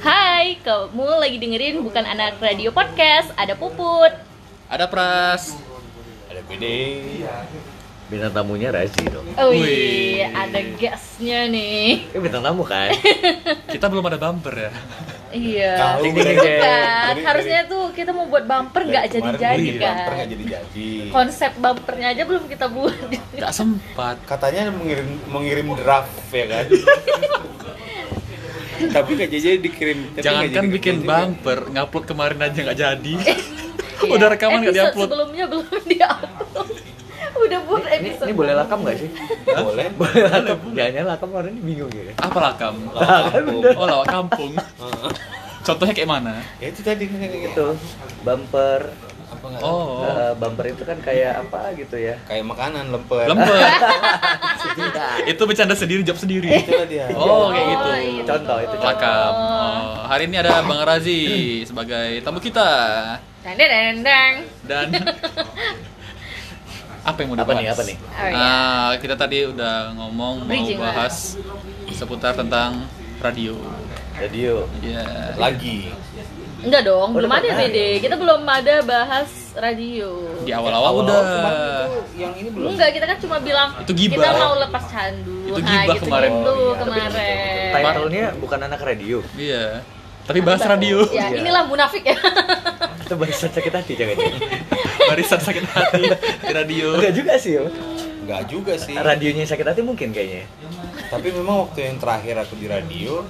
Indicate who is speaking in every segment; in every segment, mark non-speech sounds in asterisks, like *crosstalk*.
Speaker 1: Hai, kamu lagi dengerin bukan anak radio podcast, ada Puput.
Speaker 2: Ada Pras.
Speaker 3: ada gede
Speaker 4: Iya.
Speaker 2: Bintang tamunya Razi dong.
Speaker 1: Oh
Speaker 3: Wih.
Speaker 1: iya, ada gasnya nih.
Speaker 2: Eh bintang tamu kan?
Speaker 3: kita belum ada bumper ya
Speaker 1: Iya.
Speaker 3: Tahu
Speaker 1: Ding,
Speaker 3: dari-
Speaker 1: ding, ding. Bukan.
Speaker 3: dari-
Speaker 1: Harusnya tuh kita mau buat bumper Oh, nggak
Speaker 3: Dari Iya, kemarin
Speaker 1: jadi-jadi
Speaker 3: beli
Speaker 1: kan.
Speaker 3: bumper nggak jadi-jadi
Speaker 1: Konsep bumpernya aja belum kita buat.
Speaker 3: nggak sempat
Speaker 4: katanya mengirim mengirim draft ya kan *laughs* tapi nggak jadi dikirim tapi nggak
Speaker 3: jangankan
Speaker 4: jadi-
Speaker 3: bikin
Speaker 4: jadi-
Speaker 3: bumper ngupload kemarin aja nggak jadi *laughs* udah
Speaker 1: Iya.
Speaker 3: rekaman nggak
Speaker 1: Episode
Speaker 3: diupload
Speaker 1: Sebelumnya belum *laughs* diupload. Udah buat
Speaker 2: Ini,
Speaker 1: episode.
Speaker 2: ini boleh lakam nggak sih?
Speaker 3: *laughs*
Speaker 4: boleh
Speaker 2: boleh lakam. Jangan lakam orang ini bingung ya.
Speaker 3: apa lakam
Speaker 4: Lampung.
Speaker 3: Ya. oh lawak kampung
Speaker 4: Ah,
Speaker 3: contohnya kayak mana
Speaker 4: ya itu tadi kayak gitu
Speaker 2: Itu bumper.
Speaker 4: apa nggak
Speaker 3: oh
Speaker 2: eh, bumper itu kan kayak apa gitu ya?
Speaker 4: kayak makanan lemper *laughs*
Speaker 3: lembar
Speaker 2: Iya.
Speaker 3: itu bercanda sendiri jawab sendiri
Speaker 4: itulah dia
Speaker 3: oh kayak gitu
Speaker 1: Oh, iya.
Speaker 2: Contoh itu contoh.
Speaker 3: lakam oh, hari ini ada bang Razi sebagai tamu kita
Speaker 1: Dendeng, dendeng.
Speaker 3: dan
Speaker 1: *laughs*
Speaker 3: apa yang mau
Speaker 2: Apa
Speaker 3: dibahas
Speaker 2: nih, apa nih?
Speaker 1: Oh, iya.
Speaker 3: Ah, kita tadi udah ngomong mau
Speaker 1: Bridging lah.
Speaker 3: bahas seputar tentang radio.
Speaker 2: Radio.
Speaker 3: Ya.
Speaker 4: lagi
Speaker 1: Enggak dong,
Speaker 3: Oh,
Speaker 2: Udah
Speaker 1: belum ada
Speaker 2: pernah.
Speaker 1: BD. Kita belum ada bahas radio.
Speaker 3: Di awal-awal
Speaker 2: Awal-awal
Speaker 3: udah.
Speaker 4: yang ini belum
Speaker 1: Enggak, kita kan cuma bilang
Speaker 3: Itu gibah.
Speaker 1: kita mau lepas candu.
Speaker 3: Itu gibah kemarin.
Speaker 1: Gitu,
Speaker 2: Oh, iya.
Speaker 1: kemarin.
Speaker 2: Title-nya bukan anak radio.
Speaker 3: Iya. Tapi bahas radio.
Speaker 1: Ya,
Speaker 2: Iya.
Speaker 1: inilah munafik ya.
Speaker 2: Itu bahasa sakit hati jangan ya.
Speaker 1: iya.
Speaker 3: Barisan sakit hati di radio.
Speaker 2: Enggak juga sih. Om.
Speaker 4: nggak juga sih
Speaker 2: Radionya yang sakit hati mungkin kayaknya.
Speaker 4: tapi memang waktu yang terakhir aku di radio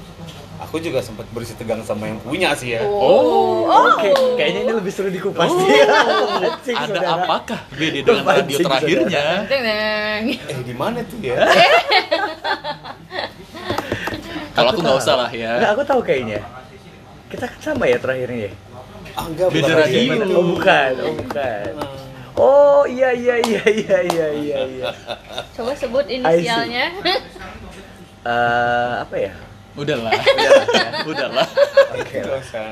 Speaker 4: aku juga sempat bersih tegang sama yang punya sih ya
Speaker 1: Oh,
Speaker 2: Oke, kayaknya ini lebih seru dikupas. Anjing,
Speaker 3: Oh. Ada
Speaker 2: saudara.
Speaker 3: apakah beda dengan
Speaker 2: Apaan
Speaker 3: radio
Speaker 2: sih,
Speaker 3: terakhirnya?
Speaker 1: Deng.
Speaker 4: eh di mana tuh
Speaker 3: *laughs*
Speaker 4: ya
Speaker 3: Kalau aku nggak
Speaker 2: tahu.
Speaker 3: usah lah
Speaker 2: Nggak,
Speaker 3: ya.
Speaker 2: aku tahu kayaknya. Kita sama ya terakhirnya ya?
Speaker 4: ah enggak
Speaker 3: Beda
Speaker 4: bukan
Speaker 3: radio.
Speaker 4: yang itu.
Speaker 2: Oh bukan, oh bukan. Oh iya iya iya iya iya iya iya.
Speaker 1: Coba sebut inisialnya. *laughs*
Speaker 2: Eh, apa ya? *laughs*
Speaker 3: Udahlah.
Speaker 2: Iya.
Speaker 3: Udahlah.
Speaker 4: itu
Speaker 2: Oke.
Speaker 4: nggak
Speaker 2: lah.
Speaker 4: usah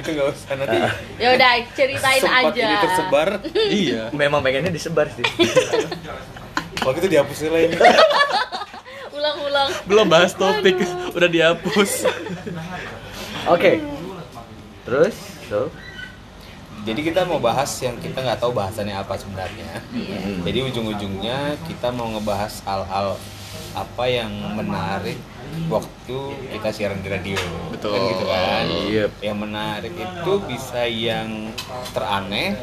Speaker 4: itu nggak usah nanti
Speaker 1: ya udah ceritain
Speaker 4: sempat
Speaker 1: aja.
Speaker 4: ini tersebar
Speaker 3: Iya.
Speaker 2: Memang pengennya disebar sih.
Speaker 4: waktu itu dihapus lah ini
Speaker 1: Ulang-ulang.
Speaker 3: Belum bahas topik, udah dihapus.
Speaker 2: Oke. Terus, so.
Speaker 4: Jadi kita mau bahas yang kita nggak tahu bahasannya apa sebenarnya.
Speaker 1: Iya.
Speaker 4: Jadi ujung-ujungnya kita mau ngebahas hal-hal apa yang menarik waktu kita siaran di radio.
Speaker 3: Betul.
Speaker 4: Kan gitu kan.
Speaker 2: Yep.
Speaker 4: Yang menarik itu bisa yang teraneh,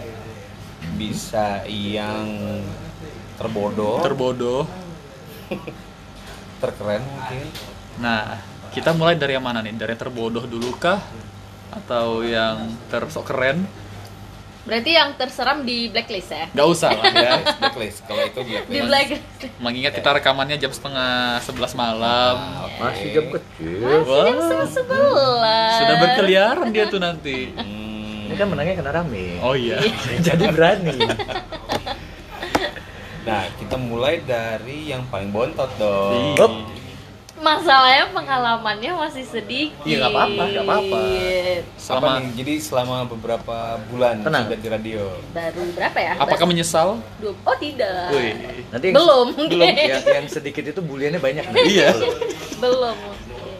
Speaker 4: bisa yang terbodoh,
Speaker 3: Terbodoh.
Speaker 4: terkeren mungkin.
Speaker 3: Nah, kita mulai dari yang mana nih? Dari yang terbodoh dulu kah? Atau yang tersok keren?
Speaker 1: Berarti yang terseram di blacklist ya.
Speaker 3: Gak usah lah ya.
Speaker 4: Blacklist. Kalau itu blacklist.
Speaker 1: Di blacklist.
Speaker 3: Mengingat kita rekamannya jam setengah sebelas malam.
Speaker 4: Ah, oke.
Speaker 2: Masih jam kecil.
Speaker 1: Masih jam
Speaker 3: Wah.
Speaker 1: sebelas.
Speaker 3: Sudah berkeliaran dia tuh nanti.
Speaker 4: Hmm.
Speaker 2: Ini kan menangnya kena rame.
Speaker 3: Oh iya.
Speaker 2: Jadi berani.
Speaker 4: Nah, kita mulai dari yang paling bontot dong.
Speaker 3: Iya.
Speaker 2: Hop.
Speaker 1: Masalahnya pengalamannya masih sedikit.
Speaker 2: Iya, nggak apa-apa, nggak apa-apa.
Speaker 4: Apa
Speaker 3: Selama
Speaker 4: nih? Jadi selama beberapa bulan
Speaker 2: Tenang.
Speaker 4: sudah di radio.
Speaker 1: Baru berapa ya?
Speaker 3: apakah
Speaker 1: Baru-
Speaker 3: menyesal?
Speaker 1: dua- Oh tidak.
Speaker 3: Wih.
Speaker 2: Nanti yang-
Speaker 1: Belum mungkin.
Speaker 2: Belum yang, yang sedikit itu buliannya banyak nih. *laughs*
Speaker 3: Iya.
Speaker 1: Belum mungkin.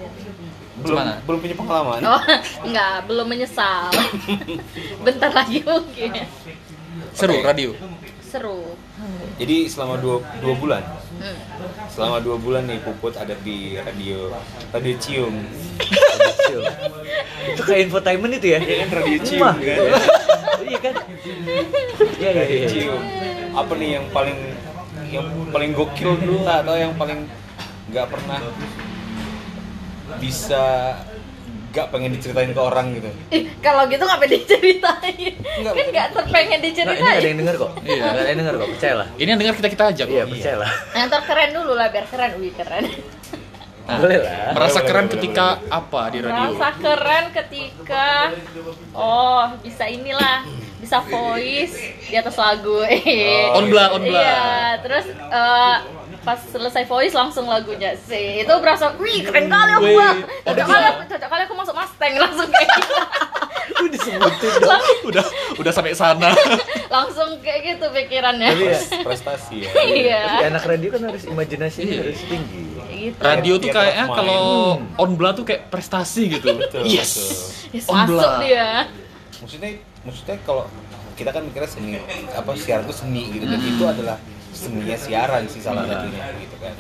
Speaker 4: Belum
Speaker 3: Gimana?
Speaker 4: belum punya pengalaman.
Speaker 1: Oh, *laughs* enggak, belum
Speaker 2: *laughs*
Speaker 1: menyesal. Bentar lagi mungkin.
Speaker 3: Seru
Speaker 4: Oke.
Speaker 3: radio.
Speaker 1: Seru.
Speaker 4: Jadi selama dua, dua bulan.
Speaker 1: Hmm.
Speaker 4: Selama dua bulan nih Puput ada di radio Radio Cium.
Speaker 2: Kecil. Itu kayak infotainment itu ya?
Speaker 4: Iya kan radio Cium
Speaker 2: Rumah.
Speaker 4: kan.
Speaker 2: Iya kan? Iya iya
Speaker 4: Radio
Speaker 2: iya.
Speaker 4: Cium. Apa nih yang paling yang paling gokil dulu atau yang paling nggak pernah bisa nggak pengen diceritain ke orang gitu.
Speaker 1: Ih, kalau gitu ngapain diceritain?
Speaker 4: Enggak.
Speaker 1: Kan enggak terpengen
Speaker 2: Nggak, Nah, ini nggak ada
Speaker 1: diceritain.
Speaker 2: yang denger kok.
Speaker 3: Iya.
Speaker 2: Nggak ada yang denger kok. Percayalah.
Speaker 3: Ini yang dengar kita kita aja kok.
Speaker 2: Iya, percayalah.
Speaker 1: Yang terkeren dulu lah biar keren. Wih, keren.
Speaker 3: Nah,
Speaker 2: Boleh lah.
Speaker 3: Merasa
Speaker 4: Boleh,
Speaker 3: keren
Speaker 4: boleh,
Speaker 3: ketika
Speaker 4: boleh,
Speaker 3: apa di radio?
Speaker 1: Merasa keren ketika oh, bisa inilah, bisa voice di atas lagu. *laughs*
Speaker 4: Oh,
Speaker 3: On blood, on blood.
Speaker 1: Iya, terus eh, pas selesai voice langsung lagunya sih itu berasa wih keren kali aku
Speaker 3: Wih,
Speaker 1: Bang.
Speaker 3: on
Speaker 1: cocok kali aku cocok kali aku masuk Mustang *laughs* langsung kayak gitu.
Speaker 2: Aku disebutin dong.
Speaker 1: Lang-
Speaker 3: Udah udah sampai sana.
Speaker 1: langsung kayak gitu pikirannya
Speaker 3: Iya.
Speaker 2: Tapi ya,
Speaker 4: Prestasi ya.
Speaker 1: *laughs* iya
Speaker 2: tapi anak radio kan harus imajinasinya
Speaker 3: Iya.
Speaker 2: harus tinggi.
Speaker 1: gitu.
Speaker 3: Radio tuh
Speaker 4: Theater of
Speaker 3: kayaknya
Speaker 4: mind.
Speaker 3: kalau onbla tuh kayak prestasi gitu.
Speaker 4: Hmm. Betul,
Speaker 3: yes.
Speaker 4: betul.
Speaker 1: Yes, Ya,
Speaker 3: on
Speaker 1: masuk
Speaker 3: blood.
Speaker 1: dia.
Speaker 4: maksudnya maksudnya kalau kita kan mikirnya seni apa siaran itu seni gitu dan itu adalah seninya siaran sih salah
Speaker 3: Iya.
Speaker 4: satunya gitu kan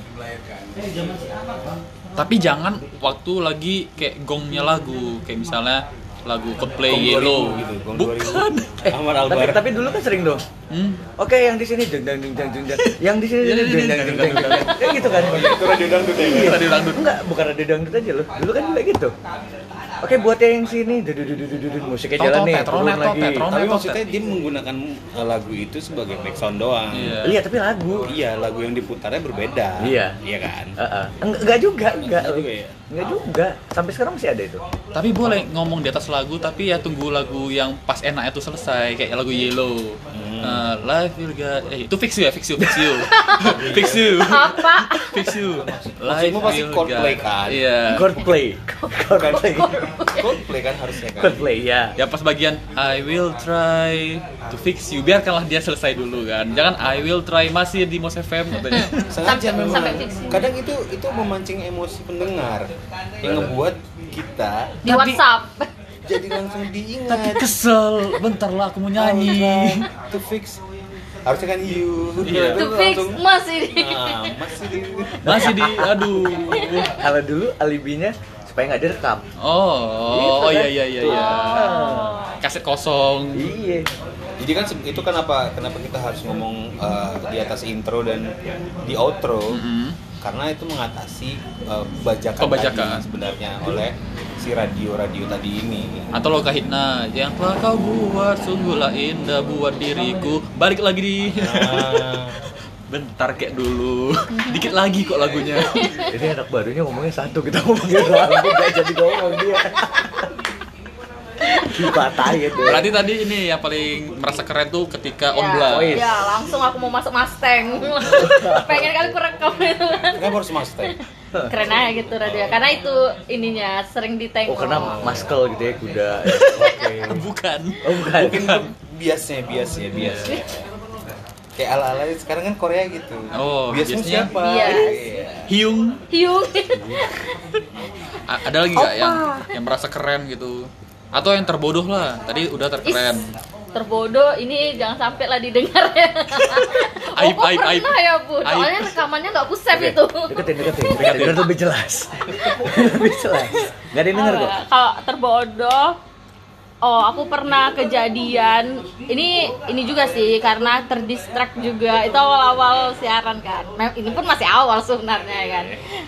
Speaker 3: Tapi jangan waktu lagi kayak gongnya lagu, kayak misalnya lagu Coldplay
Speaker 4: Gong 2000
Speaker 3: Yellow.
Speaker 4: gitu, gong 2000.
Speaker 3: Bukan. *laughs*
Speaker 2: Eh,
Speaker 4: Ahmad
Speaker 2: tapi,
Speaker 4: Albar
Speaker 2: tapi dulu kan sering dong.
Speaker 3: Hmm.
Speaker 2: Oke, yang di sini jeng jeng jeng jeng jeng. Yang di sini jeng jeng jeng jeng jeng. jeng. Kayak gitu kan.
Speaker 4: itu radio dangdut ya
Speaker 2: Iya.
Speaker 3: Radio dangdut.
Speaker 2: Enggak, bukan radio dangdut aja loh. Dulu kan kayak gitu. Oke, buat yang sini dudu dudu dudu dudu musiknya
Speaker 3: Tau,
Speaker 2: jalan
Speaker 3: tau,
Speaker 2: nih.
Speaker 3: Petronet,
Speaker 2: turun
Speaker 3: tau,
Speaker 2: lagi.
Speaker 3: Petronet.
Speaker 4: tapi maksudnya dia menggunakan eh, lagu itu sebagai background doang
Speaker 3: Iya.
Speaker 2: Iya, tapi lagu.
Speaker 4: iya lagu yang diputarnya berbeda
Speaker 2: Iya.
Speaker 4: iya kan
Speaker 2: Heeh. Enggak enggak juga, enggak.
Speaker 4: Enggak juga ya?
Speaker 2: Enggak juga. Sampai sekarang masih ada itu.
Speaker 3: Tapi boleh ngomong di atas lagu, tapi ya tunggu lagu yang pas enak itu selesai, kayak lagu Yellow.
Speaker 4: Hmm.
Speaker 3: Eh, life will get... Eh, itu fix you ya, fix you, fix
Speaker 4: *laughs*
Speaker 3: you. fix you.
Speaker 1: Apa?
Speaker 3: Fix you.
Speaker 4: Maksudmu pasti
Speaker 3: will
Speaker 4: Coldplay
Speaker 3: get-
Speaker 4: kan?
Speaker 3: Iya.
Speaker 2: Coldplay. Coldplay.
Speaker 4: Coldplay kan harusnya kan
Speaker 2: Coldplay ya.
Speaker 3: Ya pas bagian I will try to fix you. Biarkanlah dia selesai dulu kan. Jangan I will try masih di Mos FM katanya.
Speaker 4: sengaja
Speaker 1: Sampai-
Speaker 4: memang
Speaker 1: sampai fiksi.
Speaker 4: kadang itu itu memancing emosi pendengar yang ngebuat kita
Speaker 1: Di WhatsApp.
Speaker 4: jadi langsung diingat
Speaker 3: Tapi *laughs* kesel, bentar lah aku mau nyanyi.
Speaker 4: Nyanyi to fix harusnya kan you
Speaker 3: Iya.
Speaker 1: To fix masih di.
Speaker 3: Nah.
Speaker 4: Ah, masih di
Speaker 3: *laughs* Masih di aduh.
Speaker 2: Kalau dulu alibinya supaya nggak direkam. Gitu
Speaker 3: Oh, oh iya
Speaker 2: kan?
Speaker 3: iya iya iya.
Speaker 2: Ah.
Speaker 1: Oh.
Speaker 3: Kaset kosong.
Speaker 2: Iya.
Speaker 4: jadi kan se- itu kenapa kenapa kita harus ngomong eh, di atas intro dan di outro
Speaker 3: Mm-mm.
Speaker 4: karena itu mengatasi eh, bajakan,
Speaker 3: Kebajakan.
Speaker 4: tadi sebenarnya oleh si radio-radio tadi
Speaker 3: *laughs*
Speaker 4: ini
Speaker 3: Atau lo kahitna yang telah kau buat sungguhlah indah buat diriku. Balik lagi di *laughs*
Speaker 4: Ah,
Speaker 3: bentar kayak dulu. *laughs* Dikit lagi kok *laughs* lagunya.
Speaker 2: Jadi anak barunya ngomongnya satu kita ngomongnya *laughs* lagu nggak jadi ngomong dia. Dipatahin gitu.
Speaker 3: Berarti tadi ini yang paling merasa keren tuh ketika on
Speaker 1: Ya,
Speaker 2: Ois.
Speaker 1: ya, langsung aku mau masuk
Speaker 3: *laughs*
Speaker 1: Mustang. Pengen kali aku rekam itu kan.
Speaker 4: kenapa harus master
Speaker 1: Keren aja gitu
Speaker 3: Oh.
Speaker 1: radio. Karena itu ininya sering ditengok.
Speaker 2: Oh karena maskel gitu ya kuda. Oke.
Speaker 3: Bukan.
Speaker 2: Oh bukan. *laughs*
Speaker 4: mungkin itu biasnya biasnya biasnya kayak ala ala sekarang kan Korea gitu
Speaker 3: Oh, biasanya-
Speaker 4: biasanya, siapa
Speaker 1: Bias.
Speaker 4: Iya.
Speaker 3: Hyung
Speaker 1: Hiung.
Speaker 3: A- ada lagi nggak
Speaker 1: Opa.
Speaker 3: yang yang merasa keren gitu atau yang terbodoh lah tadi udah
Speaker 1: Is,
Speaker 3: terkeren
Speaker 1: terbodoh ini jangan sampai lah didengar ya.
Speaker 3: *laughs* Aib,
Speaker 1: oh, kok
Speaker 3: aib, aib.
Speaker 1: pernah ya bu.
Speaker 3: Aib.
Speaker 1: Soalnya rekamannya nggak aku save itu.
Speaker 2: Deketin, deketin, deketin, biar lebih jelas. Biar lebih jelas. Gak ada yang denger kok.
Speaker 1: Apa? Kalau terbodoh Oh, aku pernah kejadian. Ini ini juga sih karena terdistract juga. Itu awal-awal siaran kan. Mem- Ini pun masih awal sebenarnya kan.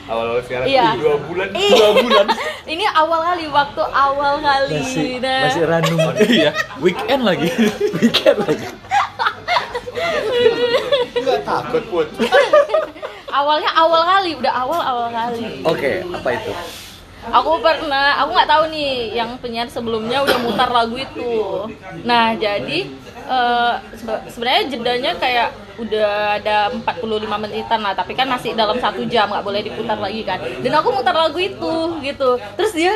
Speaker 4: awal awal sekarang
Speaker 1: Iya.
Speaker 4: "Ih, dua bulan
Speaker 1: Dua bulan. *laughs* ini awal kali waktu awal kali.
Speaker 2: Masih,
Speaker 1: Nah,
Speaker 2: masih ranum.
Speaker 3: *laughs* iya weekend lagi *laughs*
Speaker 2: Weekend lagi.
Speaker 4: nggak takut put
Speaker 1: awalnya awal kali, udah awal awal kali.
Speaker 2: Oke, apa itu?
Speaker 1: Aku pernah, aku nggak tahu nih yang penyiar sebelumnya udah mutar lagu itu. Nah, jadi eh, sebe- sebenarnya jedanya kayak udah ada 45 menitan lah, tapi kan masih dalam satu jam nggak boleh diputar lagi kan. Dan aku mutar lagu itu gitu. Terus dia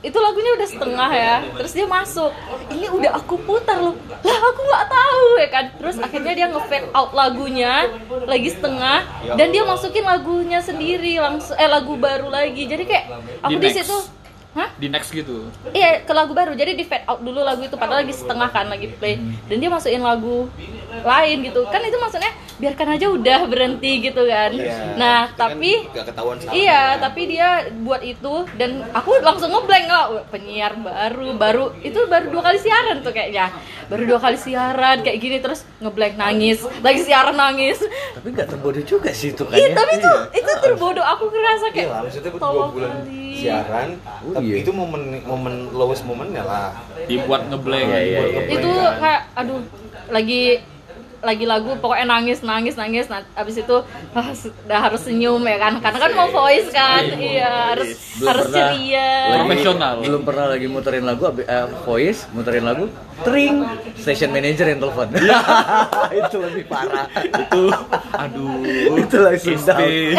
Speaker 1: itu lagunya udah setengah ya terus dia masuk ini udah aku putar loh lah aku nggak tahu ya kan terus akhirnya dia nge-fade out lagunya lagi setengah dan dia masukin lagunya sendiri langsung eh lagu baru lagi jadi kayak aku di
Speaker 3: Di next.
Speaker 1: situ hah
Speaker 3: di next gitu
Speaker 1: Iya, ke lagu baru. Jadi di fade out dulu lagu itu padahal lagi setengah kan lagi play. Dan dia masukin lagu lain gitu. Kan itu maksudnya biarkan aja udah berhenti gitu kan.
Speaker 4: Iya.
Speaker 1: Nah,
Speaker 4: Itu kan
Speaker 1: tapi
Speaker 4: nggak ketahuan sama.
Speaker 1: Iya, tapi dia buat itu dan aku langsung ngeblank nggak "Wah, penyiar baru baru itu baru dua kali siaran tuh kayaknya. Baru dua kali siaran kayak gini terus ngeblank nangis, lagi siaran nangis.
Speaker 2: Tapi nggak terbodoh juga sih itu kan
Speaker 1: Iya,
Speaker 2: ya.
Speaker 1: tapi itu itu terbodoh aku ngerasa
Speaker 4: iya
Speaker 1: kayak
Speaker 4: lah maksudnya buat dua
Speaker 1: tolong
Speaker 4: bulan
Speaker 1: kali.
Speaker 4: siaran
Speaker 2: Oh,
Speaker 4: tapi
Speaker 2: iya.
Speaker 4: itu momen momen lowest momennya lah
Speaker 3: dibuat ngeblank
Speaker 2: Iya, iya, iya.
Speaker 1: itu kayak aduh lagi lagi lagu pokoknya nangis nangis nangis nah, abis itu ah, udah harus senyum ya kan karena kan mau
Speaker 2: iya,
Speaker 1: voice kan iya harus
Speaker 2: Belum
Speaker 1: harus
Speaker 2: pernah
Speaker 1: ceria
Speaker 2: lagi-
Speaker 3: Profesional.
Speaker 2: Belum pernah lagi muterin lagu, abi- eh, voice, muterin lagu, tring, station manager yang telepon.
Speaker 3: Iya.
Speaker 2: *laughs* itu lebih parah.
Speaker 3: itu aduh
Speaker 2: Itu langsung
Speaker 3: *laughs*
Speaker 2: down.
Speaker 3: Istri.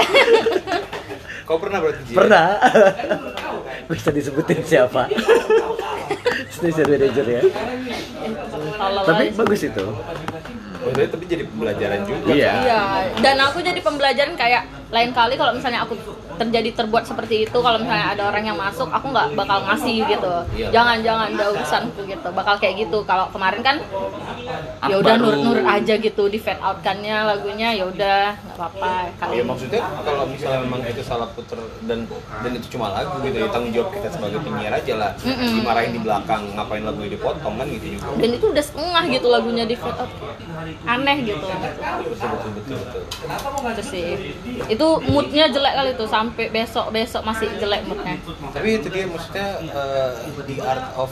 Speaker 4: kau pernah berarti Ji?
Speaker 2: Pernah. *laughs* Bisa disebutin siapa? *laughs* station manager ya.
Speaker 1: Tolol
Speaker 2: Tapi
Speaker 1: aja.
Speaker 2: bagus itu.
Speaker 4: maksudnya tapi jadi pembelajaran juga
Speaker 2: Iya.
Speaker 1: Iya, dan aku jadi pembelajaran kayak lain kali kalau misalnya aku terjadi terbuat seperti itu kalau misalnya ada orang yang masuk aku nggak bakal ngasih gitu
Speaker 2: Iya.
Speaker 1: jangan jangan ada urusanku gitu bakal kayak gitu kalau kemarin kan ya udah
Speaker 3: Baru.
Speaker 1: nurut-nurut aja gitu di fade out kannya lagunya ya udah nggak apa-apa
Speaker 2: Oh,
Speaker 1: kalau
Speaker 2: iya,
Speaker 4: Ya maksudnya kalau misalnya memang itu salah puter dan dan itu cuma lagu gitu ya tanggung jawab kita sebagai penyiar aja lah
Speaker 1: Mm-mm.
Speaker 4: dimarahin di belakang ngapain lagu dipotong kan gitu juga.
Speaker 1: dan itu udah setengah gitu lagunya di fade out aneh gitu
Speaker 4: Betul betul betul. betul.
Speaker 1: itu sih itu moodnya jelek kali tuh sampai besok besok masih jelek moodnya
Speaker 4: Tapi itu dia maksudnya eh, the art of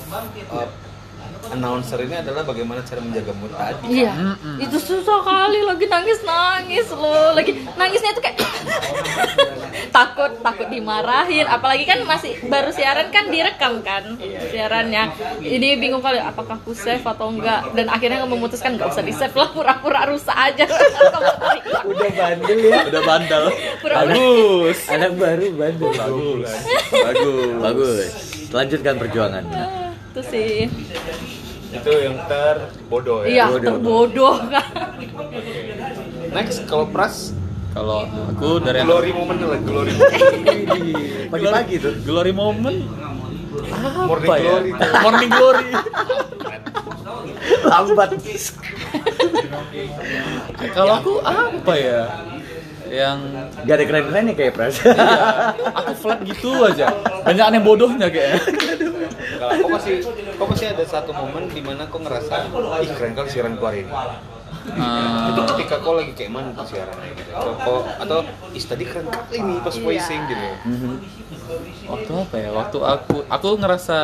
Speaker 4: eh, announcer ini adalah bagaimana cara menjaga mood tadi.
Speaker 1: Iya,
Speaker 3: Mm-mm.
Speaker 1: itu susah kali lagi nangis nangis lo, lagi nangisnya itu kayak *laughs* takut takut dimarahin, apalagi kan masih baru siaran kan direkam kan siarannya, jadi bingung kali apakah aku save atau enggak, dan akhirnya memutuskan nggak usah di save lah pura-pura rusak aja, *laughs*
Speaker 2: Udah bandel ya.
Speaker 3: Udah bandel.
Speaker 1: pura-pura
Speaker 2: Anak baru bandel.
Speaker 3: Bagus. Bagus.
Speaker 2: Bagus. Lanjutkan perjuangan.
Speaker 1: itu sih,
Speaker 4: Itu yang terbodoh ya.
Speaker 1: iya
Speaker 2: bodoh.
Speaker 1: terbodoh *laughs* kan.
Speaker 4: Next kalau Pras
Speaker 3: Kalau aku dari
Speaker 4: glory moment lah glory
Speaker 1: *laughs*
Speaker 4: moment.
Speaker 1: ya?
Speaker 2: Pagi-pagi tuh.
Speaker 3: Glory moment.
Speaker 4: Morning
Speaker 2: ya?
Speaker 4: glory. tuh.
Speaker 3: Morning glory.
Speaker 2: Lambat.
Speaker 3: Kalau aku apa ya? Yang
Speaker 2: Gak ada keren-kerennya kayak Pras.
Speaker 3: aku flat gitu aja. Banyak aneh bodohnya kayaknya.
Speaker 4: Kalau kok masih kok masih ada satu momen di mana kok ngerasa ih keren kali siaran keluar ini. Itu
Speaker 3: Eh,
Speaker 4: ketika kau lagi kayak mana tuh siarannya gitu. Atau kau atau is tadi keren kali ini pas voicing gitu.
Speaker 3: waktu apa ya? Waktu aku aku ngerasa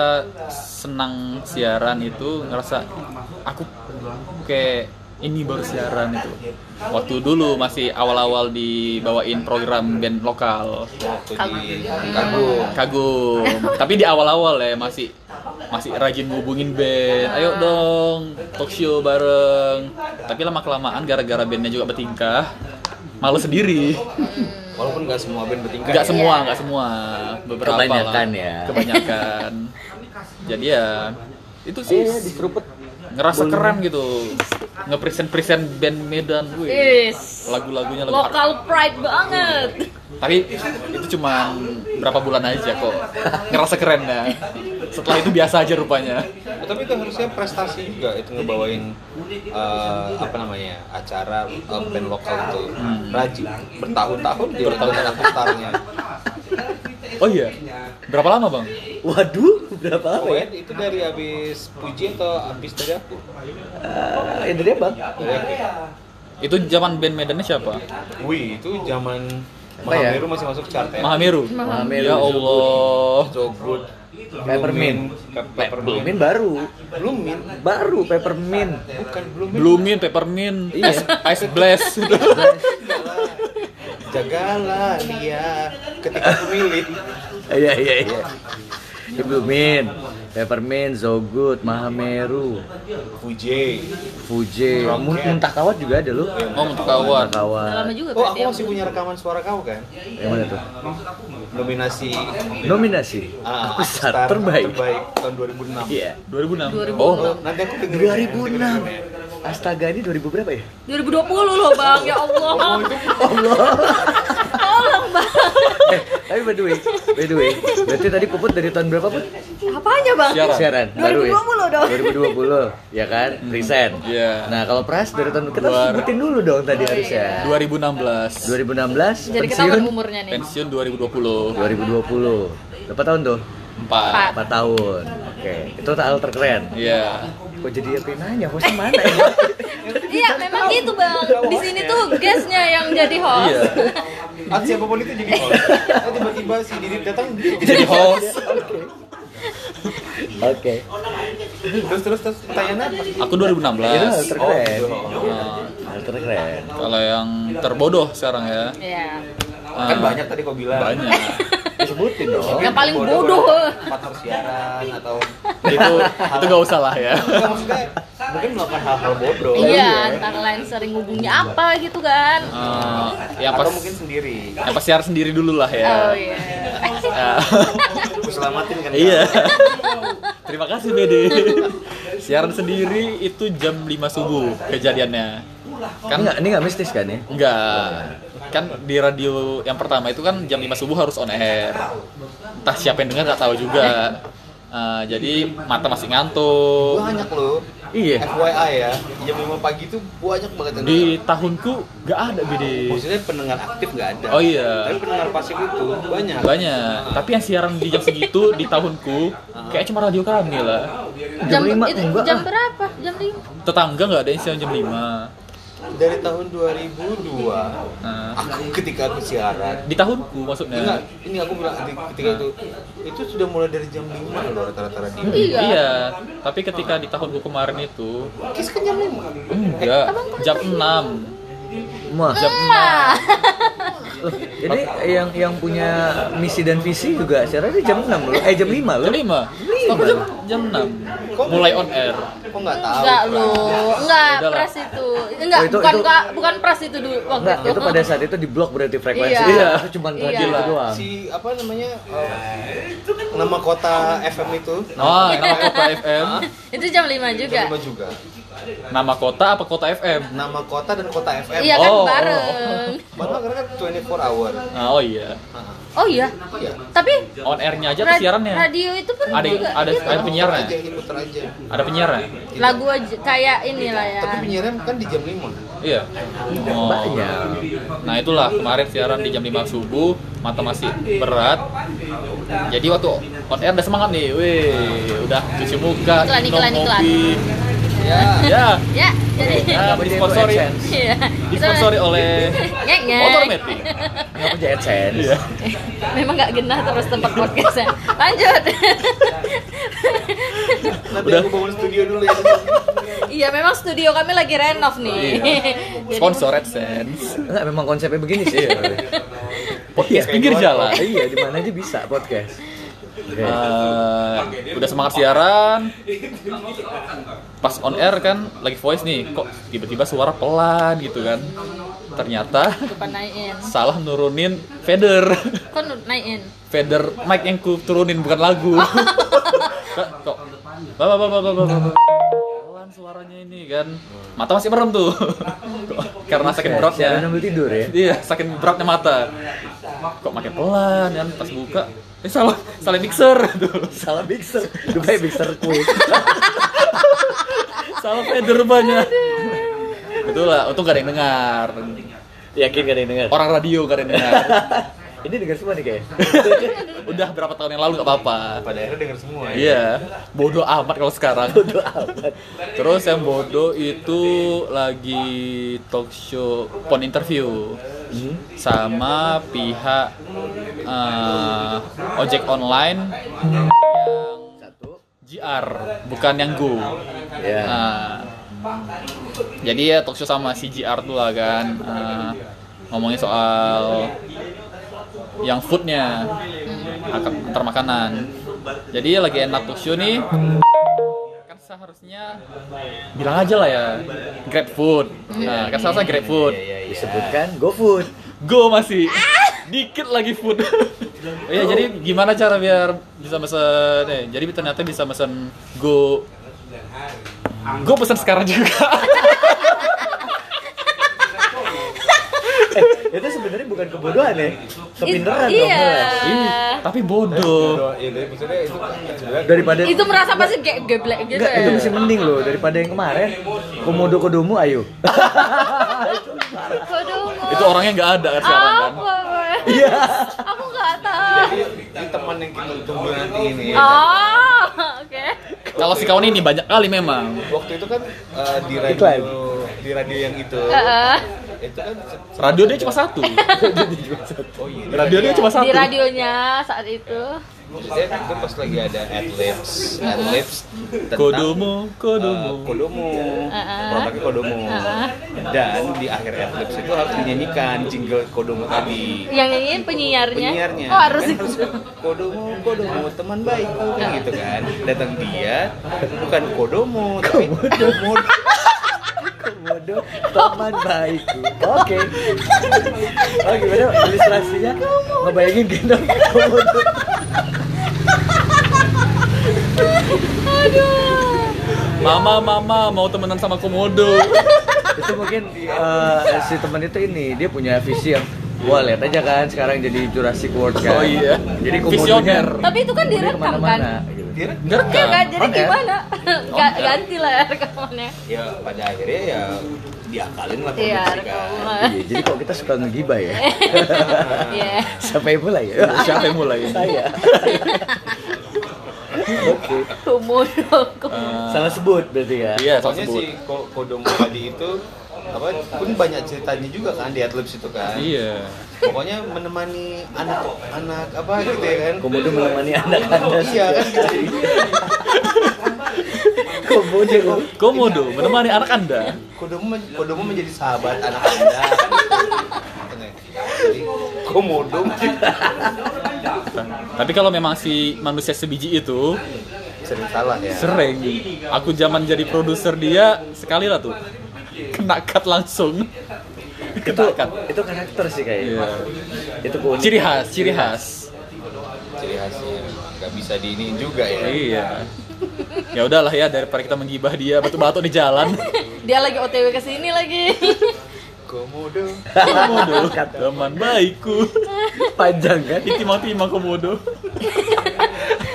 Speaker 3: senang siaran itu ngerasa aku kayak ini baru siaran itu. Waktu dulu masih awal-awal dibawain program band lokal.
Speaker 4: Waktu di
Speaker 1: Kagum.
Speaker 3: kagum
Speaker 4: kagum.
Speaker 3: tapi di awal-awal ya masih masih rajin ngubungin band ayo dong talk show bareng tapi lama kelamaan gara-gara bandnya juga bertingkah malu sendiri
Speaker 4: Walaupun nggak semua band bertingkah.
Speaker 3: nggak
Speaker 4: ya.
Speaker 3: semua nggak semua beberapa lah.
Speaker 2: Iya. Kebanyakan ya. *laughs*
Speaker 3: kebanyakan jadi ya itu sih
Speaker 2: Iya,
Speaker 3: ngerasa keren gitu ngepresent present band Medan gue
Speaker 1: Is.
Speaker 3: lagu-lagunya lagu
Speaker 1: Lokal pride banget.
Speaker 3: tapi itu cuma berapa bulan aja kok ngerasa keren ya setelah itu biasa aja rupanya
Speaker 4: Nah, Tapi itu harusnya prestasi juga itu ngebawain eh, apa namanya acara eh, band lokal itu
Speaker 3: Hmm.
Speaker 4: rajin bertahun-tahun dia bertahun-tahun putarnya.
Speaker 3: oh iya berapa lama bang
Speaker 2: Waduh, berapa lama
Speaker 4: Oh,
Speaker 2: ya?
Speaker 4: Ed, itu dari habis puji atau habis dari aku?
Speaker 2: Eh, dari apa?
Speaker 4: Dari aku.
Speaker 3: itu zaman band Medannya siapa
Speaker 4: Wih itu zaman
Speaker 2: Apa ya?
Speaker 4: Mahameru masih masuk chart ya.
Speaker 3: Mahameru
Speaker 2: Mahameru.
Speaker 3: ya Allah
Speaker 4: Jogut,
Speaker 2: Peppermint.
Speaker 4: Pe-
Speaker 2: Peppermint
Speaker 4: Peppermint,
Speaker 2: baru.
Speaker 4: Blumin,
Speaker 2: Baru peppermint.
Speaker 4: bukan Blumin.
Speaker 3: Blumin, Peppermint,
Speaker 2: Iya.
Speaker 3: Ice
Speaker 2: *laughs*
Speaker 3: Blast
Speaker 4: Jagalah dia ketika pemilik.
Speaker 2: Iya, iya, iya. Ya, Blumin, Peppermint, Zogut, Mahameru,
Speaker 4: Fuje.
Speaker 2: Fuje, Mun- Muntah Kawat juga ada lu.
Speaker 3: Oh, Muntah Kawat.
Speaker 2: Muntah Kawat.
Speaker 1: Lama juga
Speaker 4: Oh
Speaker 1: berarti
Speaker 4: aku
Speaker 1: ya.
Speaker 4: masih punya rekaman suara kau kan?
Speaker 2: Yang mana tuh?
Speaker 4: Nominasi
Speaker 2: Nominasi
Speaker 4: ah,
Speaker 2: besar
Speaker 4: Star
Speaker 2: terbaik.
Speaker 4: tahun 2006.
Speaker 2: Iya.
Speaker 3: 2006
Speaker 4: Oh,
Speaker 3: oh
Speaker 4: nanti aku dengerin.
Speaker 2: 2006. Astaga ini 2000 berapa ya?
Speaker 1: 2020 loh bang, ya Allah. Tolong bang.
Speaker 2: Eh, tapi by the way, by the way, berarti tadi Puput dari tahun berapa Put?
Speaker 1: Apanya bang?
Speaker 3: Siaran.
Speaker 2: Siaran, baru ya?
Speaker 1: 2020 dong.
Speaker 2: 2020, ya kan? Present.
Speaker 3: Iya.
Speaker 2: Nah kalau Pras dari tahun, kita harus
Speaker 3: Luar.
Speaker 2: sebutin dulu dong tadi harusnya.
Speaker 3: 2016
Speaker 2: 2016,
Speaker 1: Jadi
Speaker 2: pensiun,
Speaker 1: ketahuan umurnya nih.
Speaker 3: pensiun 2020
Speaker 2: 2020. Berapa tahun tuh?
Speaker 3: 4
Speaker 2: 4 tahun. Oke, itu hal terkeren.
Speaker 3: Iya
Speaker 2: Kok jadi apa yang nanya? Hostnya
Speaker 3: *laughs*
Speaker 2: mana ya?
Speaker 1: Iya, memang gitu bang. Di sini tuh guestnya yang jadi host.
Speaker 3: Iya.
Speaker 4: Atau siapapun itu jadi host. Nah, tiba-tiba si Didit datang dia jadi
Speaker 3: jadi
Speaker 1: Iya.
Speaker 3: host
Speaker 2: Oke.
Speaker 4: terus terus terus pertanyaan apa?
Speaker 3: aku
Speaker 2: Itu
Speaker 1: Iya.
Speaker 2: hal
Speaker 3: 2016
Speaker 2: terkeren.
Speaker 3: Nah,
Speaker 2: Hal terkeren.
Speaker 3: kalau yang terbodoh sekarang ya
Speaker 1: Iya.
Speaker 4: Kan
Speaker 3: eh,
Speaker 4: banyak tadi kau bilang. *laughs*
Speaker 3: banyak
Speaker 2: Disebutin dong.
Speaker 1: Yang paling bodoh.
Speaker 4: Partner siaran atau
Speaker 3: itu itu gak usah lah ya
Speaker 4: Enggak, maksudnya mungkin melakukan hal-hal bodoh.
Speaker 1: Iya, antara lain sering hubungnya apa gitu kan.
Speaker 3: Eh, yang
Speaker 4: Atau
Speaker 3: pas
Speaker 4: mungkin sendiri.
Speaker 3: yang pas siar sendiri dulu lah ya
Speaker 1: Oh iya. *laughs*
Speaker 3: Eh,
Speaker 4: Aku selamatin kan.
Speaker 3: iya terima kasih Bede siaran sendiri itu jam 5 subuh kejadiannya
Speaker 2: Kan
Speaker 3: kan
Speaker 2: nggak, ini nggak mistis kan ya?
Speaker 3: enggak kan di radio yang pertama itu kan jam 5 subuh harus on air entah siapa yang dengar nggak tahu juga Eh, jadi mata masih ngantuk
Speaker 4: Banyak loh.
Speaker 3: iya
Speaker 4: FYI ya, jam 5 pagi tuh banyak banget yang
Speaker 3: di tahunku nggak ada gede
Speaker 4: Maksudnya pendengar aktif nggak ada.
Speaker 3: Oh iya.
Speaker 4: Tapi pendengar pasif itu banyak.
Speaker 3: banyak tapi yang siaran di jam segitu di tahunku kayak cuma radio kami lah
Speaker 2: Jam lima
Speaker 1: itu
Speaker 2: enggak
Speaker 1: jam
Speaker 2: lah.
Speaker 1: berapa? Jam 5.
Speaker 3: tetangga nggak ada yang siaran jam 5
Speaker 4: Dari tahun 2002,
Speaker 3: nah,
Speaker 4: aku ketika aku siaran,
Speaker 3: di tahunku maksudnya
Speaker 4: Enggak, ini aku bilang di- ketika itu itu sudah mulai dari jam 5 loh rata-rata radio.
Speaker 1: Iya.
Speaker 3: tapi ketika di tahunku kemarin itu
Speaker 4: Kis kan jam 5.
Speaker 3: enggak jam 6
Speaker 2: Mah.
Speaker 3: jam
Speaker 1: Ah.
Speaker 2: Loh, Jadi yang yang punya misi dan visi juga siarannya jam 6 loh. Eh jam 5
Speaker 1: Iya,
Speaker 2: loh.
Speaker 3: Jam 5? Aku jam, jam 6 Mulai on air
Speaker 4: Kok nggak tahu?
Speaker 1: Enggak
Speaker 4: Pras?
Speaker 1: lu, enggak
Speaker 3: Udah lah.
Speaker 1: pras itu, enggak
Speaker 2: Oh, itu-
Speaker 1: bukan
Speaker 2: itu-
Speaker 1: enggak bukan pras itu dulu waktu
Speaker 2: Enggak, itu pada saat itu di blok berarti frekuensi.
Speaker 1: Iya.
Speaker 2: Iya, itu cuma radio
Speaker 1: Iya.
Speaker 2: itu doang.
Speaker 4: Si apa namanya? eh, nama kota FM itu.
Speaker 3: Oh, nama
Speaker 1: *laughs*
Speaker 3: kota FM
Speaker 1: itu jam 5 juga.
Speaker 4: Jam 5 juga.
Speaker 3: Nama kota apa kota FM?
Speaker 4: Nama kota dan kota FM.
Speaker 1: Iya kan
Speaker 3: Oh, oh,
Speaker 1: bareng.
Speaker 4: Malah karena kan 24 hour.
Speaker 3: Nah, oh iya
Speaker 4: Heeh.
Speaker 1: Oh iya.
Speaker 4: Iya.
Speaker 1: Tapi
Speaker 3: On airnya aja
Speaker 1: ra-
Speaker 3: atau siarannya?
Speaker 1: radio itu pun
Speaker 3: Ada,
Speaker 1: juga
Speaker 3: ada,
Speaker 1: gitu.
Speaker 3: ada penyiarnya?
Speaker 4: Puter aja, puter aja.
Speaker 3: Ada penyiarnya?
Speaker 1: lagu aja kayak inilah ya.
Speaker 4: Tapi penyiaran kan di jam 5.
Speaker 3: Iya oh.
Speaker 2: Banyak.
Speaker 3: Nah itulah kemarin siaran di jam 5 subuh Mata masih berat Jadi waktu on air udah semangat nih Wih, udah cuci muka,
Speaker 1: Iklan,
Speaker 3: minum
Speaker 1: iklan, iklan.
Speaker 3: kopi
Speaker 4: Ya.
Speaker 1: *laughs*
Speaker 3: Ya,
Speaker 1: Ya, jadi
Speaker 2: Eh,
Speaker 3: nah,
Speaker 2: ya.
Speaker 3: disponsori
Speaker 1: Iya.
Speaker 3: Disponsori oleh
Speaker 1: Ngek, ngek.
Speaker 3: Otomatic
Speaker 2: Enggak punya AdSense.
Speaker 3: Iya.
Speaker 1: *laughs* Memang nggak genah terus tempat podcastnya. Lanjut. *laughs*
Speaker 4: Nanti
Speaker 3: Udah.
Speaker 4: aku bangun studio dulu ya.
Speaker 1: iya, memang studio kami lagi renov nih. Jadi-
Speaker 3: Iya. Sponsor AdSense
Speaker 2: Enggak, memang konsepnya begini sih.
Speaker 3: Podcast
Speaker 4: Iya.
Speaker 3: pinggir jalan
Speaker 2: iya, di mana aja bisa podcast. Oke.
Speaker 3: Eh, Udah semangat siaran Pas on air kan lagi voice nih Kok tiba-tiba suara pelan gitu kan Ternyata *laughs*
Speaker 1: Bukan naikin.
Speaker 3: salah nurunin fader *laughs*
Speaker 1: Kok nu- naikin?
Speaker 3: fader mic yang ku turunin bukan lagu *laughs* Kak, kok bah, bah, bah, bah, bah, bah, bah. pelan suaranya ini kan mata masih merem tuh *laughs* Kok- karena saking beratnya
Speaker 2: Siaran sambil tidur ya.
Speaker 3: iya saking beratnya mata kok makin pelan kan pas buka eh salah salah mixer *laughs* tuh
Speaker 2: Salah mixer. Dubai mixer quick.
Speaker 3: salah fader banyak betul lah untung gak ada yang dengar
Speaker 2: Yakin gak ada yang dengar?
Speaker 3: orang radio gak ada yang *laughs* dengar
Speaker 2: Oh. Ini dengar semua nih kayaknya.
Speaker 3: udah berapa tahun yang lalu gak apa-apa
Speaker 4: Pada akhirnya denger semua ya.
Speaker 3: Iya, bodoh amat kalau sekarang. Bodoh amat. Terus yang bodoh itu lagi talk show pon interview
Speaker 2: Hmm,
Speaker 3: sama pihak eh, ojek online yang
Speaker 2: Satu.
Speaker 3: GR bukan yang Go.
Speaker 2: Ya.
Speaker 3: Nah, jadi ya talk show sama si GR tuh lah kan eh, ngomongin soal yang foodnya ak- antar makanan. Jadi lagi enak talk show nih. Kan seharusnya bilang aja lah ya Grab food. Nah, kan seharusnya Grab food.
Speaker 2: Iya, Disebutkan GoFood.
Speaker 3: Go masih dikit lagi food. oh *laughs* iya, jadi gimana cara biar bisa mesen eh jadi ternyata bisa mesen Go Go pesan sekarang juga.
Speaker 2: Eh, itu sebenarnya bukan kebodohan ya. Kepinteran dong. ya?
Speaker 1: Iya.
Speaker 2: Mas.
Speaker 3: Ih, tapi bodoh.
Speaker 4: Doa- Iya, tapi maksudnya itu kan sebenarnya
Speaker 2: Daripada
Speaker 1: Itu merasa pasti kayak geblek gitu.
Speaker 2: Enggak, itu
Speaker 1: ya.
Speaker 2: masih mending loh daripada yang kemarin. Komodo kodomu ayo.
Speaker 1: *laughs* Kodomo.
Speaker 3: Itu orangnya nggak ada kan sekarang kan.
Speaker 1: Apa? Iya. Aku nggak tahu.
Speaker 4: ini teman yang kita tunggu nanti ini.
Speaker 3: Iya.
Speaker 4: ya.
Speaker 1: Oh, oke.
Speaker 3: Kalau si kawan ini banyak kali memang.
Speaker 4: Waktu itu kan eh, di radio
Speaker 2: Iklan.
Speaker 4: di radio yang itu.
Speaker 1: Heeh.
Speaker 4: Itu kan se-
Speaker 3: Radio dia cuma satu.
Speaker 4: oh iya. di
Speaker 3: Radio dia cuma satu.
Speaker 1: Di radionya saat itu.
Speaker 4: Saya itu Eh, kan pas lagi ada adlibs, adlibs tentang
Speaker 3: Kodomo,
Speaker 4: eh,
Speaker 3: kodomo.
Speaker 4: kodomo,
Speaker 1: Heeh.
Speaker 4: produknya kodomo,
Speaker 1: Heeh.
Speaker 4: dan di akhir adlibs itu harus dinyanyikan jingle kodomo tadi.
Speaker 1: Yang nyanyiin penyiarnya.
Speaker 4: penyiarnya
Speaker 1: Oh, harus *laughs*
Speaker 4: Kan
Speaker 1: itu.
Speaker 4: kodomo kodomo teman baikku kan gitu kan datang dia bukan kodomo tapi kodomo
Speaker 2: Komodo teman baikku. Oke. Oh gimana ilustrasinya? Ngebayangin gendong komodo.
Speaker 1: Aduh.
Speaker 3: Mama, mama mau temenan sama komodo.
Speaker 2: Itu mungkin eh, si teman itu ini dia punya visi yang Wah lihat aja kan sekarang jadi Jurassic World kan.
Speaker 3: Oh, iya.
Speaker 2: Jadi komodonya.
Speaker 3: Visioner.
Speaker 1: Tapi itu kan direkam, kan?
Speaker 2: kemana-mana, gitu.
Speaker 1: Iya
Speaker 3: Direkam.
Speaker 1: kan, jadi
Speaker 2: On air.
Speaker 1: gimana?
Speaker 3: On
Speaker 1: Ga-
Speaker 3: air.
Speaker 1: Ganti lah ya rekamannya.
Speaker 4: ya pada akhirnya ya diakalin lah
Speaker 1: Iya,
Speaker 4: produksi kan
Speaker 1: rekaman.
Speaker 2: Iya, jadi kok kita suka ngegibah
Speaker 1: *laughs*
Speaker 2: ya.
Speaker 1: Iya.
Speaker 2: Siapa yang mulai ya?
Speaker 3: Siapa yang mulai?
Speaker 1: *laughs*
Speaker 2: Saya. Oke.
Speaker 1: Komodo, komodo.
Speaker 3: Eh,
Speaker 2: Salah sebut berarti ya.
Speaker 3: Iya, salah
Speaker 4: Soalnya
Speaker 3: sebut.
Speaker 4: si Ko- Kodong tadi itu apa pun banyak ceritanya juga kan di Adlibs itu kan.
Speaker 3: Iya.
Speaker 4: Pokoknya menemani anak anak apa gitu ya kan.
Speaker 2: Komodo menemani anak anda.
Speaker 4: Iya kan gitu.
Speaker 2: Komodo.
Speaker 3: Komodo menemani anak Anda.
Speaker 4: Kodomo men- Kodomo menjadi sahabat anak Anda. kan gitu. Jadi Komodo
Speaker 3: Tapi kalau memang si manusia sebiji itu
Speaker 4: sering salah ya.
Speaker 3: sering aku zaman jadi produser dia sekali lah tuh kena cut langsung.
Speaker 2: Itu
Speaker 3: Kena cut.
Speaker 2: itu karakter sih
Speaker 3: Iya.
Speaker 2: kayaknya. Itu keunikan.
Speaker 3: Ciri khas, ciri khas.
Speaker 4: Ciri khasnya nggak bisa diiniin juga ya.
Speaker 3: Iya. Ya udahlah ya daripada kita menggibah dia batu-batu di jalan.
Speaker 1: Dia lagi OTW ke sini lagi.
Speaker 4: Komodo.
Speaker 3: Komodo, teman baikku.
Speaker 2: Panjang kan?
Speaker 3: Timang-timang komodo.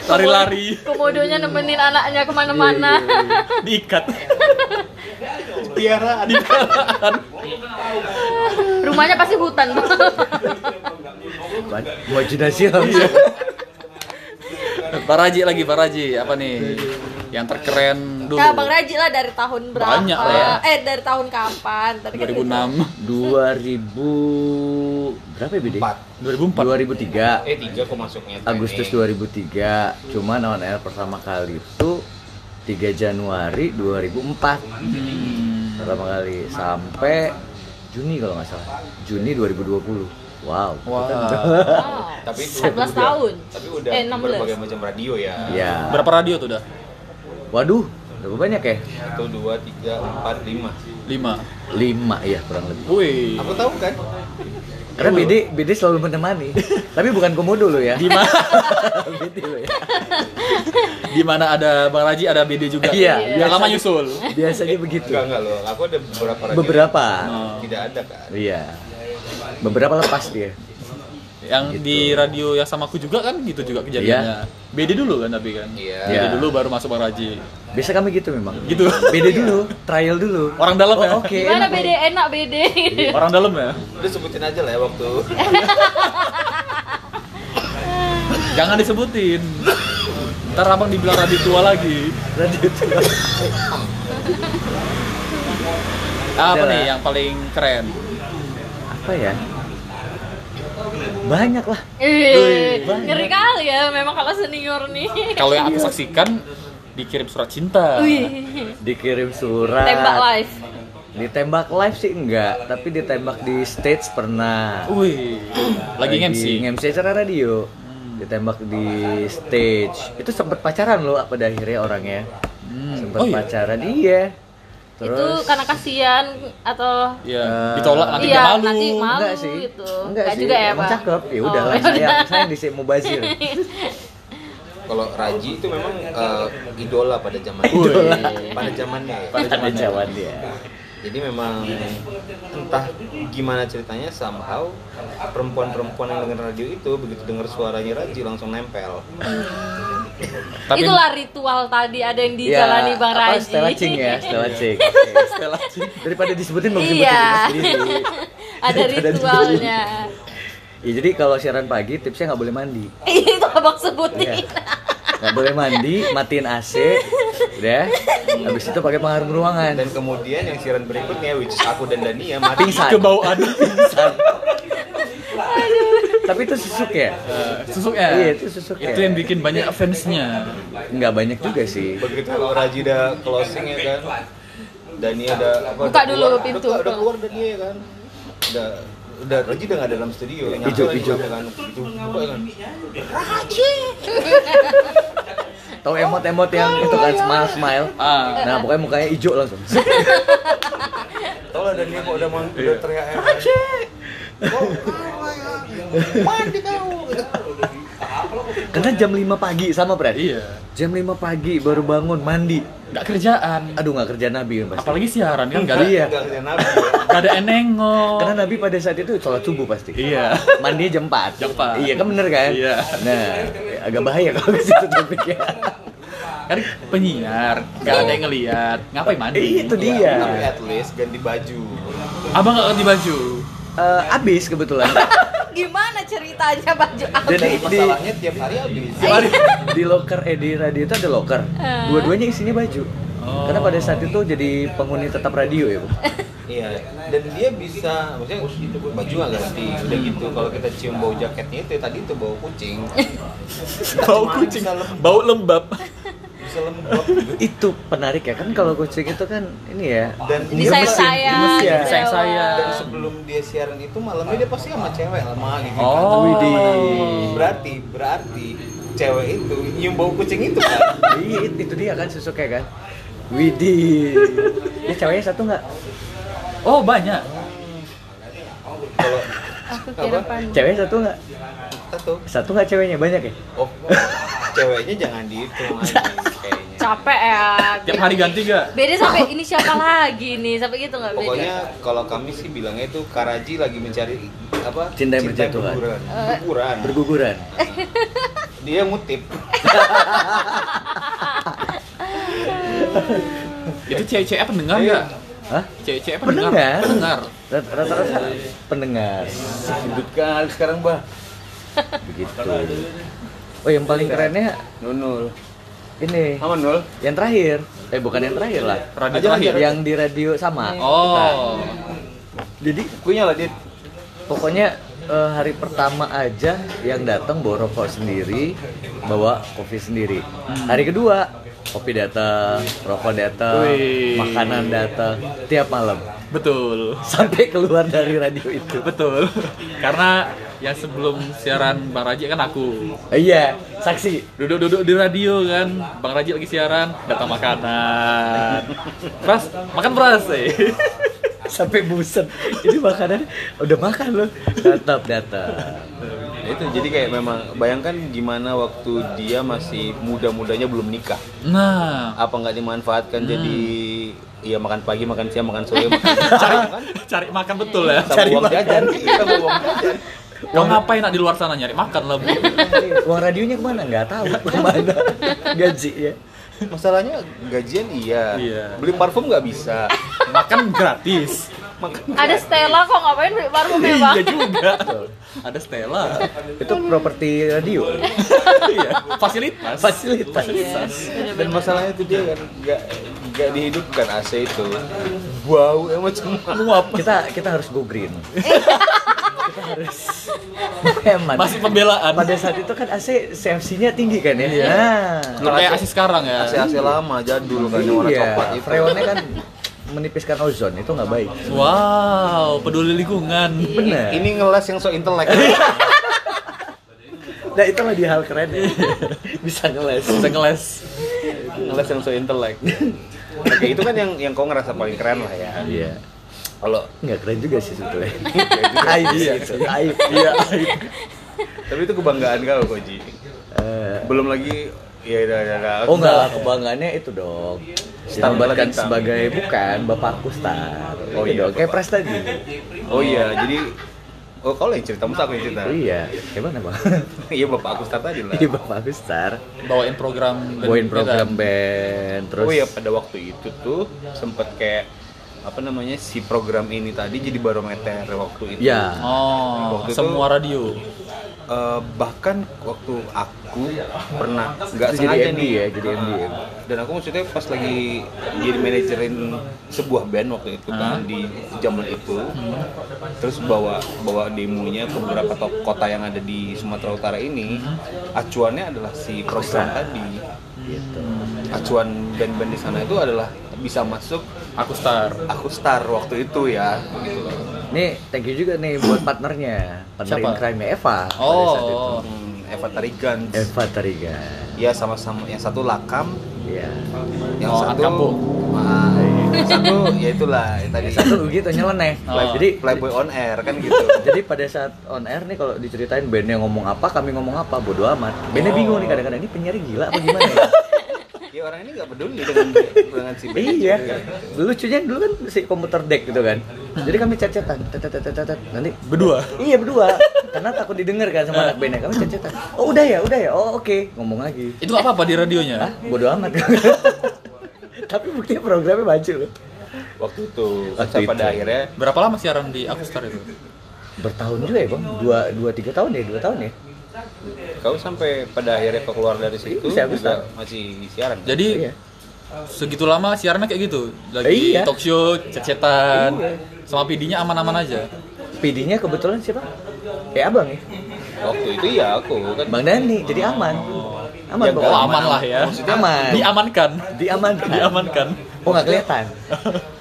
Speaker 3: Lari-lari.
Speaker 1: Komodonya nemenin anaknya kemana-mana.
Speaker 3: Iya, Diikat.
Speaker 4: Piara
Speaker 3: Di kendaraan.
Speaker 1: Rumahnya pasti hutan.
Speaker 2: Ba- Imajinasi langsung.
Speaker 3: Iya. Pak Raji lagi, Pak Raji. Apa nih? Yang terkeren dulu.
Speaker 1: Nah, Bang Raji lah dari tahun berapa?
Speaker 3: Banyak lah ya.
Speaker 1: Eh, dari tahun kapan? Tadi kan
Speaker 3: 2006.
Speaker 2: 2000 berapa ya Bidi?
Speaker 3: 2004.
Speaker 2: 2003.
Speaker 4: Eh tiga kok masuknya.
Speaker 2: Agustus 2003 cuman on air pertama kali itu 3 Januari 2004
Speaker 3: Hmm.
Speaker 2: pertama kali sampai Juni kalau nggak salah Juni 2020 wow
Speaker 3: Wah.
Speaker 1: Wow.
Speaker 4: Tapi itu
Speaker 1: 11 Oh. tahun.
Speaker 4: Tapi udah
Speaker 1: eh,
Speaker 4: berbagai
Speaker 1: 16.
Speaker 4: macam radio ya.
Speaker 2: ya
Speaker 3: Berapa radio tuh dah?
Speaker 2: waduh berapa banyak ya
Speaker 4: Satu, dua, tiga, empat, lima.
Speaker 3: 5.
Speaker 2: 5 ya kurang lebih
Speaker 3: Wih.
Speaker 4: Aku tahu kan?
Speaker 2: karena BD BD selalu
Speaker 3: *laughs*
Speaker 2: menemani tapi bukan komodo lo ya
Speaker 3: Di mana
Speaker 2: BD lo ya
Speaker 3: *laughs* di mana ada Bang Raji, ada BD juga.
Speaker 2: Iya,
Speaker 3: Yang
Speaker 2: biasa.
Speaker 3: lama nyusul.
Speaker 2: biasanya begitu
Speaker 4: Enggak, enggak loh. Aku ada beberapa radio.
Speaker 2: beberapa
Speaker 3: Oh.
Speaker 4: Tidak ada kan?
Speaker 2: iya beberapa lepas dia
Speaker 3: Yang
Speaker 2: Gitu.
Speaker 3: di radio yang sama aku juga kan gitu juga kejadiannya. BD dulu kan tapi kan.
Speaker 4: Iya.
Speaker 3: BD
Speaker 2: Iya.
Speaker 3: dulu baru masuk Bang Raji.
Speaker 2: biasa kami gitu memang
Speaker 3: Gitu.
Speaker 2: BD dulu trial dulu Oh,
Speaker 3: Orang dalam ya?
Speaker 2: oke
Speaker 1: Gimana
Speaker 2: enak.
Speaker 1: beda enak
Speaker 2: Iya,
Speaker 1: *laughs* beda.
Speaker 3: Orang dalam ya.
Speaker 4: Udah sebutin aja lah ya waktu.
Speaker 3: Jangan disebutin. Ntar abang dibilang radio tua lagi.
Speaker 2: Radio tua.
Speaker 3: Apa
Speaker 2: Udah
Speaker 3: nih
Speaker 2: lah.
Speaker 3: yang paling keren?
Speaker 2: Apa ya? Banyak lah.
Speaker 1: Eh, ngeri kali ya memang kalau senior nih.
Speaker 3: Kalau yang aku saksikan dikirim surat cinta.
Speaker 1: Wih.
Speaker 2: Dikirim surat.
Speaker 1: Tembak live.
Speaker 2: Ditembak live sih enggak, tapi ditembak di stage pernah.
Speaker 3: Wih. Lagi MC.
Speaker 2: MC acara radio. Ditembak di stage. Itu sempat pacaran loh pada akhirnya orangnya.
Speaker 3: Hmm.
Speaker 2: Sempat
Speaker 3: Oh iya.
Speaker 2: pacaran iya. Terus
Speaker 1: Itu karena kasihan atau
Speaker 3: Iya.
Speaker 2: Eh,
Speaker 3: Ditolak nanti
Speaker 1: iya,
Speaker 3: dia malu.
Speaker 1: nanti malu.
Speaker 2: enggak sih.
Speaker 1: gitu. Enggak juga ya,
Speaker 2: emang
Speaker 1: Pak?
Speaker 2: cakep. Ya
Speaker 1: Oh,
Speaker 2: udah lah,
Speaker 1: ya
Speaker 2: saya
Speaker 1: udah.
Speaker 2: saya di
Speaker 1: *laughs*
Speaker 2: mubazir.
Speaker 4: Kalau Raji itu memang eh, idola pada zaman
Speaker 3: Idola.
Speaker 4: Pada zamannya ya.
Speaker 3: Pada
Speaker 2: Ada
Speaker 3: zamannya.
Speaker 2: jawaban dia.
Speaker 4: Jadi memang entah gimana ceritanya somehow perempuan-perempuan yang denger radio itu begitu denger suaranya Raji langsung nempel.
Speaker 3: Tapi
Speaker 1: Itulah ritual tadi ada yang
Speaker 2: Iya,
Speaker 1: dijalani Bang
Speaker 2: apa,
Speaker 1: Raji.
Speaker 2: Stella Cing ya, Stella
Speaker 1: *laughs*
Speaker 2: Cing.
Speaker 3: Stella cinta.
Speaker 2: Daripada disebutin belum disebutin.
Speaker 1: Iya.
Speaker 2: sendiri.
Speaker 1: ada ritualnya.
Speaker 2: Ya, jadi kalau siaran pagi tipsnya nggak boleh mandi.
Speaker 1: Itu abang sebutin.
Speaker 2: Iya. Nggak boleh mandi, matiin AC, udah. Habis itu pakai pengharum ruangan.
Speaker 4: Dan kemudian yang siaran berikutnya which is aku dan Dania mati.
Speaker 2: Pingsan.
Speaker 3: Kebauan.
Speaker 2: Tapi itu susuk ya?
Speaker 3: Susuknya.
Speaker 2: Iya, itu susuknya.
Speaker 3: Eh, Itu yang bikin banyak fansnya.
Speaker 2: Nggak banyak juga sih.
Speaker 4: Begitu kalau Raji udah closing ya kan. Dani ada apa?
Speaker 1: Buka
Speaker 4: udah
Speaker 1: dulu
Speaker 4: keluar-
Speaker 1: pintu.
Speaker 4: Udah, udah keluar Dani ya kan. Udah udah Raji udah nggak dalam studio. Nyampe
Speaker 2: Hijau,
Speaker 4: lagi
Speaker 2: hijau.
Speaker 4: sampai kan. Hijau, buka ya kan.
Speaker 2: Tahu emot-emot yang itu kan
Speaker 1: ya
Speaker 2: smile smile.
Speaker 3: Ah.
Speaker 2: Nah, pokoknya mukanya hijau langsung.
Speaker 4: Tau lah Dani kok udah mau
Speaker 2: Iya.
Speaker 4: udah teriak ya. kan. Kok, kau lah ya. Mandi kau.
Speaker 2: Karena jam 5 pagi sama berarti.
Speaker 3: Iya.
Speaker 2: Jam 5 pagi baru bangun mandi.
Speaker 3: Nggak kerjaan.
Speaker 2: Aduh nggak kerja Nabi ya pasti.
Speaker 3: Apalagi siaran kan nggak ada,
Speaker 2: Iya.
Speaker 4: Enggak kerja nabi ya.
Speaker 3: nggak ada yang nengok.
Speaker 2: Karena Nabi pada saat itu sholat subuh pasti.
Speaker 3: Iya.
Speaker 2: *laughs* Mandi jam 4.
Speaker 3: Jam 4.
Speaker 2: Iya kan bener kan?
Speaker 3: Iya.
Speaker 2: Nah, ya, agak bahaya kalau ke situ topiknya.
Speaker 3: Kan penyiar, nggak ada yang ngelihat. Ngapain mandi?
Speaker 2: Eh, itu *laughs* dia.
Speaker 4: Tapi at least ganti baju.
Speaker 3: Abang nggak ganti baju.
Speaker 2: Eh, abis
Speaker 3: *laughs*
Speaker 2: kebetulan.
Speaker 1: *laughs* Gimana ceritanya baju aku?
Speaker 2: Jadi di,
Speaker 4: Masalahnya tiap hari habis.
Speaker 2: di locker eh di radio itu ada locker.
Speaker 1: Eh.
Speaker 2: Dua-duanya isinya baju.
Speaker 3: Oh.
Speaker 2: Karena pada saat itu jadi penghuni tetap radio
Speaker 3: *laughs*
Speaker 2: ya, Bu.
Speaker 4: Iya, dan dia bisa, maksudnya baju nggak ganti, udah gitu. Kalau kita cium bau jaketnya itu, tadi itu bau kucing,
Speaker 3: Bau kucing,
Speaker 4: Bisa lembab.
Speaker 3: bau lembab.
Speaker 4: bisa lembab gitu.
Speaker 2: Itu menarik ya kan kalau kucing itu kan ini ya.
Speaker 4: Dan
Speaker 1: Ini
Speaker 4: dia
Speaker 1: saya
Speaker 4: pasti-
Speaker 1: saya.
Speaker 2: gemes ya.
Speaker 3: Sayang saya.
Speaker 4: Dan sebelum dia siaran itu malamnya dia pasti sama cewek lama gitu.
Speaker 3: Oh.
Speaker 2: Widih.
Speaker 4: Berarti, berarti cewek itu nyium bau kucing itu kan.
Speaker 2: Iya, it- itu dia kan susuknya kan. Widih. Ya ceweknya satu nggak?
Speaker 3: Oh banyak.
Speaker 4: Kalau
Speaker 1: Aku kira
Speaker 4: Apa?
Speaker 1: pan.
Speaker 2: Ceweknya satu nggak?
Speaker 4: kita tuh,
Speaker 2: Satu nggak ceweknya banyak ya?
Speaker 4: oh ceweknya jangan dihitung aja kayaknya.
Speaker 1: Capek ya.
Speaker 3: Tiap hari ganti gak?
Speaker 1: Beda sampai ini siapa lagi nih? Sampai gitu nggak beda?
Speaker 4: Pokoknya kalau kami sih bilangnya itu Karaji lagi mencari apa?
Speaker 2: Cinta yang berjatuhan.
Speaker 4: berguguran.
Speaker 1: Eh.
Speaker 4: Berguguran.
Speaker 2: Berguguran.
Speaker 4: Dia ngutip.
Speaker 3: Itu cewek-cewek pendengar
Speaker 2: Iya.
Speaker 3: nggak?
Speaker 2: Hah?
Speaker 3: Cewek-cewek pendengar.
Speaker 2: Pendengar.
Speaker 3: Pendengar.
Speaker 2: Rat- Rata-rata pendengar.
Speaker 4: Hidup kan sekarang bah.
Speaker 2: Begitu. Oh, yang paling kerennya
Speaker 4: Nunul.
Speaker 2: ini.
Speaker 4: Sama Nul.
Speaker 2: Yang terakhir. Eh, bukan yang terakhir lah.
Speaker 3: Radio
Speaker 4: Ajar,
Speaker 3: terakhir.
Speaker 2: Yang di radio sama.
Speaker 3: Oh.
Speaker 2: Jadi
Speaker 4: Kuenya lah dit.
Speaker 2: pokoknya eh, hari pertama aja yang datang bawa rokok sendiri, bawa kopi sendiri.
Speaker 3: Hmm.
Speaker 2: Hari kedua kopi datang, rokok datang,
Speaker 3: Wih.
Speaker 2: makanan datang tiap malam *laughs*
Speaker 3: Betul.
Speaker 2: sampai keluar dari radio itu.
Speaker 3: Betul. *laughs* Karena yang sebelum siaran Bang Raji kan aku.
Speaker 2: Iya, saksi.
Speaker 3: Duduk-duduk di radio kan, Bang Raji lagi siaran, datang makanan. Pras, makan pras. Eh. *laughs*
Speaker 2: sampai buset ini makanan udah makan loh datang datang
Speaker 4: Nah, itu jadi kayak memang bayangkan gimana waktu dia masih muda-mudanya belum nikah.
Speaker 3: Nah,
Speaker 4: Apa nggak dimanfaatkan
Speaker 2: Hmm.
Speaker 4: jadi Iya makan pagi, makan siang, makan sore,
Speaker 2: *laughs*
Speaker 4: makan siang kan?
Speaker 3: cari makan betul ya.
Speaker 4: Sama
Speaker 2: Cari
Speaker 4: uang
Speaker 2: makan.
Speaker 4: jajan, kita bawa uang jajan.
Speaker 3: Mau ngapain nak di luar sana nyari makan lah, Bu.
Speaker 2: uang radionya kemana nggak
Speaker 3: *laughs*
Speaker 2: tahu kemana gaji ya
Speaker 4: Masalahnya gajian iya,
Speaker 3: Iya.
Speaker 4: beli parfum nggak bisa.
Speaker 3: Makan gratis.
Speaker 4: Makan
Speaker 1: Ada Stella kok ngapain beli parfum ya bang?
Speaker 3: *laughs* Iya juga. Ada Stella.
Speaker 2: itu properti radio
Speaker 3: *laughs* Iya, fasilitas.
Speaker 2: fasilitas
Speaker 4: dan masalahnya itu dia kan nggak nggak dihidupkan AC itu bau
Speaker 2: ya,
Speaker 4: emang cuma
Speaker 2: kita kita harus go green kita harus hemat
Speaker 3: Masih pembelaan.
Speaker 2: pada saat itu kan AC CFC-nya tinggi kan ya
Speaker 3: Iya.
Speaker 2: nah,
Speaker 3: Nggak kayak asis sekarang ya.
Speaker 4: AC AC lama jadul kan yang warna coklat
Speaker 2: iya
Speaker 4: itu
Speaker 2: freonnya kan menipiskan ozon itu nggak baik
Speaker 3: Wow, peduli lingkungan.
Speaker 2: benar
Speaker 4: ini ngeles yang so
Speaker 2: *laughs*
Speaker 4: intelek
Speaker 2: nah itu lagi hal keren ya *laughs* bisa ngeles
Speaker 3: Bisa ngeles.
Speaker 4: ngeles yang so intelek oke itu kan yang yang kau ngerasa paling keren lah ya
Speaker 2: iya
Speaker 4: kalau
Speaker 2: nggak keren juga sih sebetulnya aib sih itu aib iya aib
Speaker 4: tapi itu kebanggaan kau Koji
Speaker 2: Eh,
Speaker 4: belum lagi ya ya, ya, ya.
Speaker 2: oh enggak lah kebanggaannya itu dong Star
Speaker 4: Bintang,
Speaker 2: kan
Speaker 4: bintang.
Speaker 2: sebagai bukan bapakku Star
Speaker 4: Oh
Speaker 2: oh
Speaker 4: iya,
Speaker 2: iya dong kayak
Speaker 4: bapak.
Speaker 2: pres tadi
Speaker 3: Nah.
Speaker 4: oh iya jadi oh kau lah yang cerita masa aku yang cerita
Speaker 2: oh iya gimana bang
Speaker 3: Nah.
Speaker 4: iya bapak aku start tadi lah
Speaker 2: iya bapakku Star
Speaker 3: Bawain program band-
Speaker 2: bawain
Speaker 3: band.
Speaker 2: program band terus
Speaker 3: iya,
Speaker 4: Oh ya pada waktu itu tuh sempet kayak apa namanya si program ini tadi jadi barometer waktu itu.
Speaker 2: ya
Speaker 3: Oh,
Speaker 4: Waktu itu-
Speaker 3: semua radio.
Speaker 4: Eh, bahkan waktu aku pernah nggak
Speaker 2: Itu jadi
Speaker 4: sengaja
Speaker 2: MD
Speaker 4: nih
Speaker 2: ya, jadi MD ya.
Speaker 4: Dan aku maksudnya pas lagi jadi manajerin sebuah band waktu itu
Speaker 2: Hmm.
Speaker 4: kan di zaman itu. Terus bawa bawa demonya ke beberapa to- kota yang ada di Sumatera Utara ini.
Speaker 2: Hmm.
Speaker 4: Acuannya adalah si program tadi.
Speaker 2: gitu
Speaker 4: Acuan band-band di sana itu adalah bisa masuk
Speaker 3: Aku star.
Speaker 4: aku star waktu itu ya gitu loh.
Speaker 2: nih thank you juga nih buat partnernya partner
Speaker 3: Siapa?
Speaker 2: in crime Eva pada saat itu
Speaker 3: Oh,
Speaker 4: Hmm, Eva Tarigans
Speaker 2: Eva Tarigan
Speaker 4: ya sama-sama yang satu lakam
Speaker 2: iya
Speaker 4: yang
Speaker 3: Oh,
Speaker 4: satu
Speaker 3: Akapung.
Speaker 4: Ah, iya. *laughs* Satu ya itulah yang tadi
Speaker 2: Satu gitu nyeleneh.
Speaker 3: Oh.
Speaker 2: Jadi
Speaker 4: Playboy on air kan gitu.
Speaker 2: jadi pada saat on air nih kalau diceritain bandnya ngomong apa, kami ngomong apa, bodo amat. Bandnya
Speaker 3: Oh.
Speaker 2: bingung nih kadang-kadang ini penyiar gila apa gimana ya?
Speaker 4: Ya orang ini nggak peduli dengan dengan si Ben.
Speaker 2: iya. Lucunya dulu kan si komputer deck gitu kan. Jadi kami chat-chatan, tet, tet, tet, tet, tet. nanti
Speaker 3: Berdua.
Speaker 2: Iya berdua, karena takut didengar kan sama anak bandnya. Kami chat-chatan. Oh udah ya, udah ya. Oh oke, ngomong lagi.
Speaker 3: Itu nggak apa-apa di radionya.
Speaker 2: Hah? Bodo amat. *laughs* Tapi buktinya programnya baca loh.
Speaker 4: Waktu itu,
Speaker 2: Waktu
Speaker 4: Saya pada
Speaker 2: itu.
Speaker 4: akhirnya
Speaker 3: Berapa lama siaran di Akustar itu?
Speaker 2: Bertahun juga ya bang, dua, dua tiga tahun ya, dua tahun ya.
Speaker 4: kau sampai pada akhirnya kau keluar dari situ
Speaker 2: Iya, bisa,
Speaker 4: juga masih siaran. kan?
Speaker 3: Jadi
Speaker 2: Iya.
Speaker 3: segitu lama siarannya kayak gitu. Lagi
Speaker 2: Iya.
Speaker 3: talk show, cecetan. Sama PD-nya aman-aman aja.
Speaker 2: PD-nya kebetulan siapa? Eh abang ya,
Speaker 4: waktu itu ya aku kan
Speaker 2: Bang Dani. Jadi aman, Iya, aman
Speaker 4: Ya,
Speaker 2: bang.
Speaker 3: Oh, aman lah ya.
Speaker 2: Maksudnya aman.
Speaker 3: Diamankan.
Speaker 2: Diamankan.
Speaker 3: Diamankan.
Speaker 2: Oh nggak kelihatan.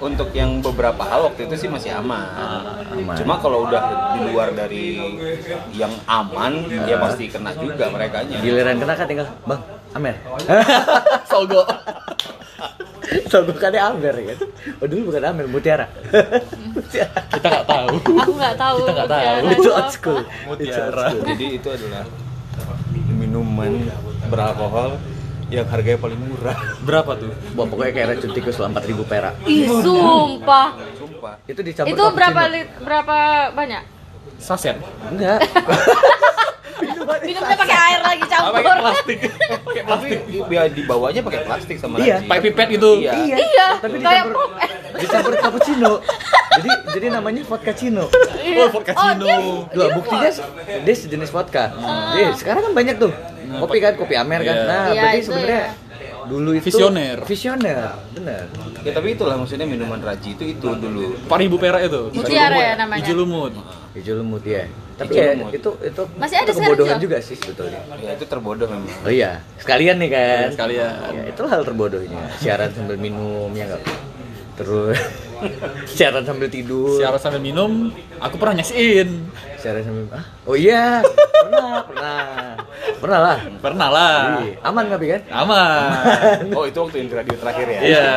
Speaker 4: untuk yang beberapa hal waktu itu sih masih Ah, aman.
Speaker 2: aman.
Speaker 4: Cuma kalau udah di luar dari yang aman, dia pasti kena juga mereka nya.
Speaker 2: Giliran kena kan tinggal bang *laughs* Amer.
Speaker 3: Sogo.
Speaker 2: So bukannya Amer ya? Oh dulu bukan Amer, Mutiara. Mutiara.
Speaker 3: Kita nggak tahu.
Speaker 1: Aku nggak tahu.
Speaker 3: Kita nggak tahu.
Speaker 1: Mutiara
Speaker 2: *laughs* Itu
Speaker 1: itu
Speaker 2: old
Speaker 1: apa.
Speaker 2: school. It's old
Speaker 3: Mutiara.
Speaker 2: school.
Speaker 4: Iya, Jadi itu adalah minuman beralkohol yang harganya paling murah.
Speaker 3: Berapa tuh?
Speaker 2: Wah pokoknya kayak racun tikus lah 4000 perak.
Speaker 3: Iya,
Speaker 1: Ih, sumpah.
Speaker 4: Sumpah.
Speaker 2: Itu dicampur
Speaker 1: Itu berapa
Speaker 2: cappuccino.
Speaker 1: lit, berapa banyak?
Speaker 3: Saset.
Speaker 2: Enggak.
Speaker 1: Minumnya pakai air lagi
Speaker 3: Apa
Speaker 1: campur.
Speaker 3: pakai plastik? Pakai plastik.
Speaker 4: Tapi biar dibawanya pakai plastik sama
Speaker 2: Iya.
Speaker 4: Raji.
Speaker 3: Pakai pipet gitu.
Speaker 4: Iya.
Speaker 1: *laughs* Iya,
Speaker 2: tapi
Speaker 1: kayak
Speaker 2: dicampur,
Speaker 1: pop.
Speaker 2: dicampur *laughs* cappuccino. jadi jadi namanya vodka cino.
Speaker 1: Iya.
Speaker 3: vodka
Speaker 1: Oh,
Speaker 3: Cino.
Speaker 1: dia,
Speaker 2: Lah
Speaker 1: dia
Speaker 2: buktinya
Speaker 1: vodka.
Speaker 2: dia sejenis vodka. Jadi sekarang kan banyak tuh. Kopi kan, kopi Amer kan.
Speaker 3: Iya.
Speaker 2: Nah,
Speaker 1: Hmm. Iya,
Speaker 2: berarti
Speaker 1: itu
Speaker 2: sebenarnya dulu itu
Speaker 3: Visioner.
Speaker 2: Visioner, bener.
Speaker 4: Ya, tapi itulah maksudnya minuman Raji itu itu dulu.
Speaker 3: 4000 perak itu.
Speaker 1: Mutiara ya namanya?
Speaker 3: Hijau lumut.
Speaker 2: Hijau lemut ya. Tapi
Speaker 4: Hijau
Speaker 2: ya,
Speaker 4: lumut.
Speaker 2: itu itu
Speaker 1: Masih ada
Speaker 2: itu kebodohan
Speaker 1: sekarang, Jo?
Speaker 2: juga sih sebetulnya.
Speaker 4: Ya itu terbodoh memang.
Speaker 2: Oh iya, sekalian nih kan.
Speaker 3: Sekalian.
Speaker 2: Ya, itu hal terbodohnya. Siaran sambil minum ya nggak? Terus *laughs* siaran sambil tidur.
Speaker 3: Siaran sambil minum, aku pernah nyaksiin.
Speaker 2: Siaran sambil ah? Oh iya, pernah, pernah. Pernah lah.
Speaker 3: Pernah lah.
Speaker 2: Jadi, aman nggak Bi, kan?
Speaker 3: Aman.
Speaker 4: Oh itu waktu yang radio terakhir ya.
Speaker 3: Iya.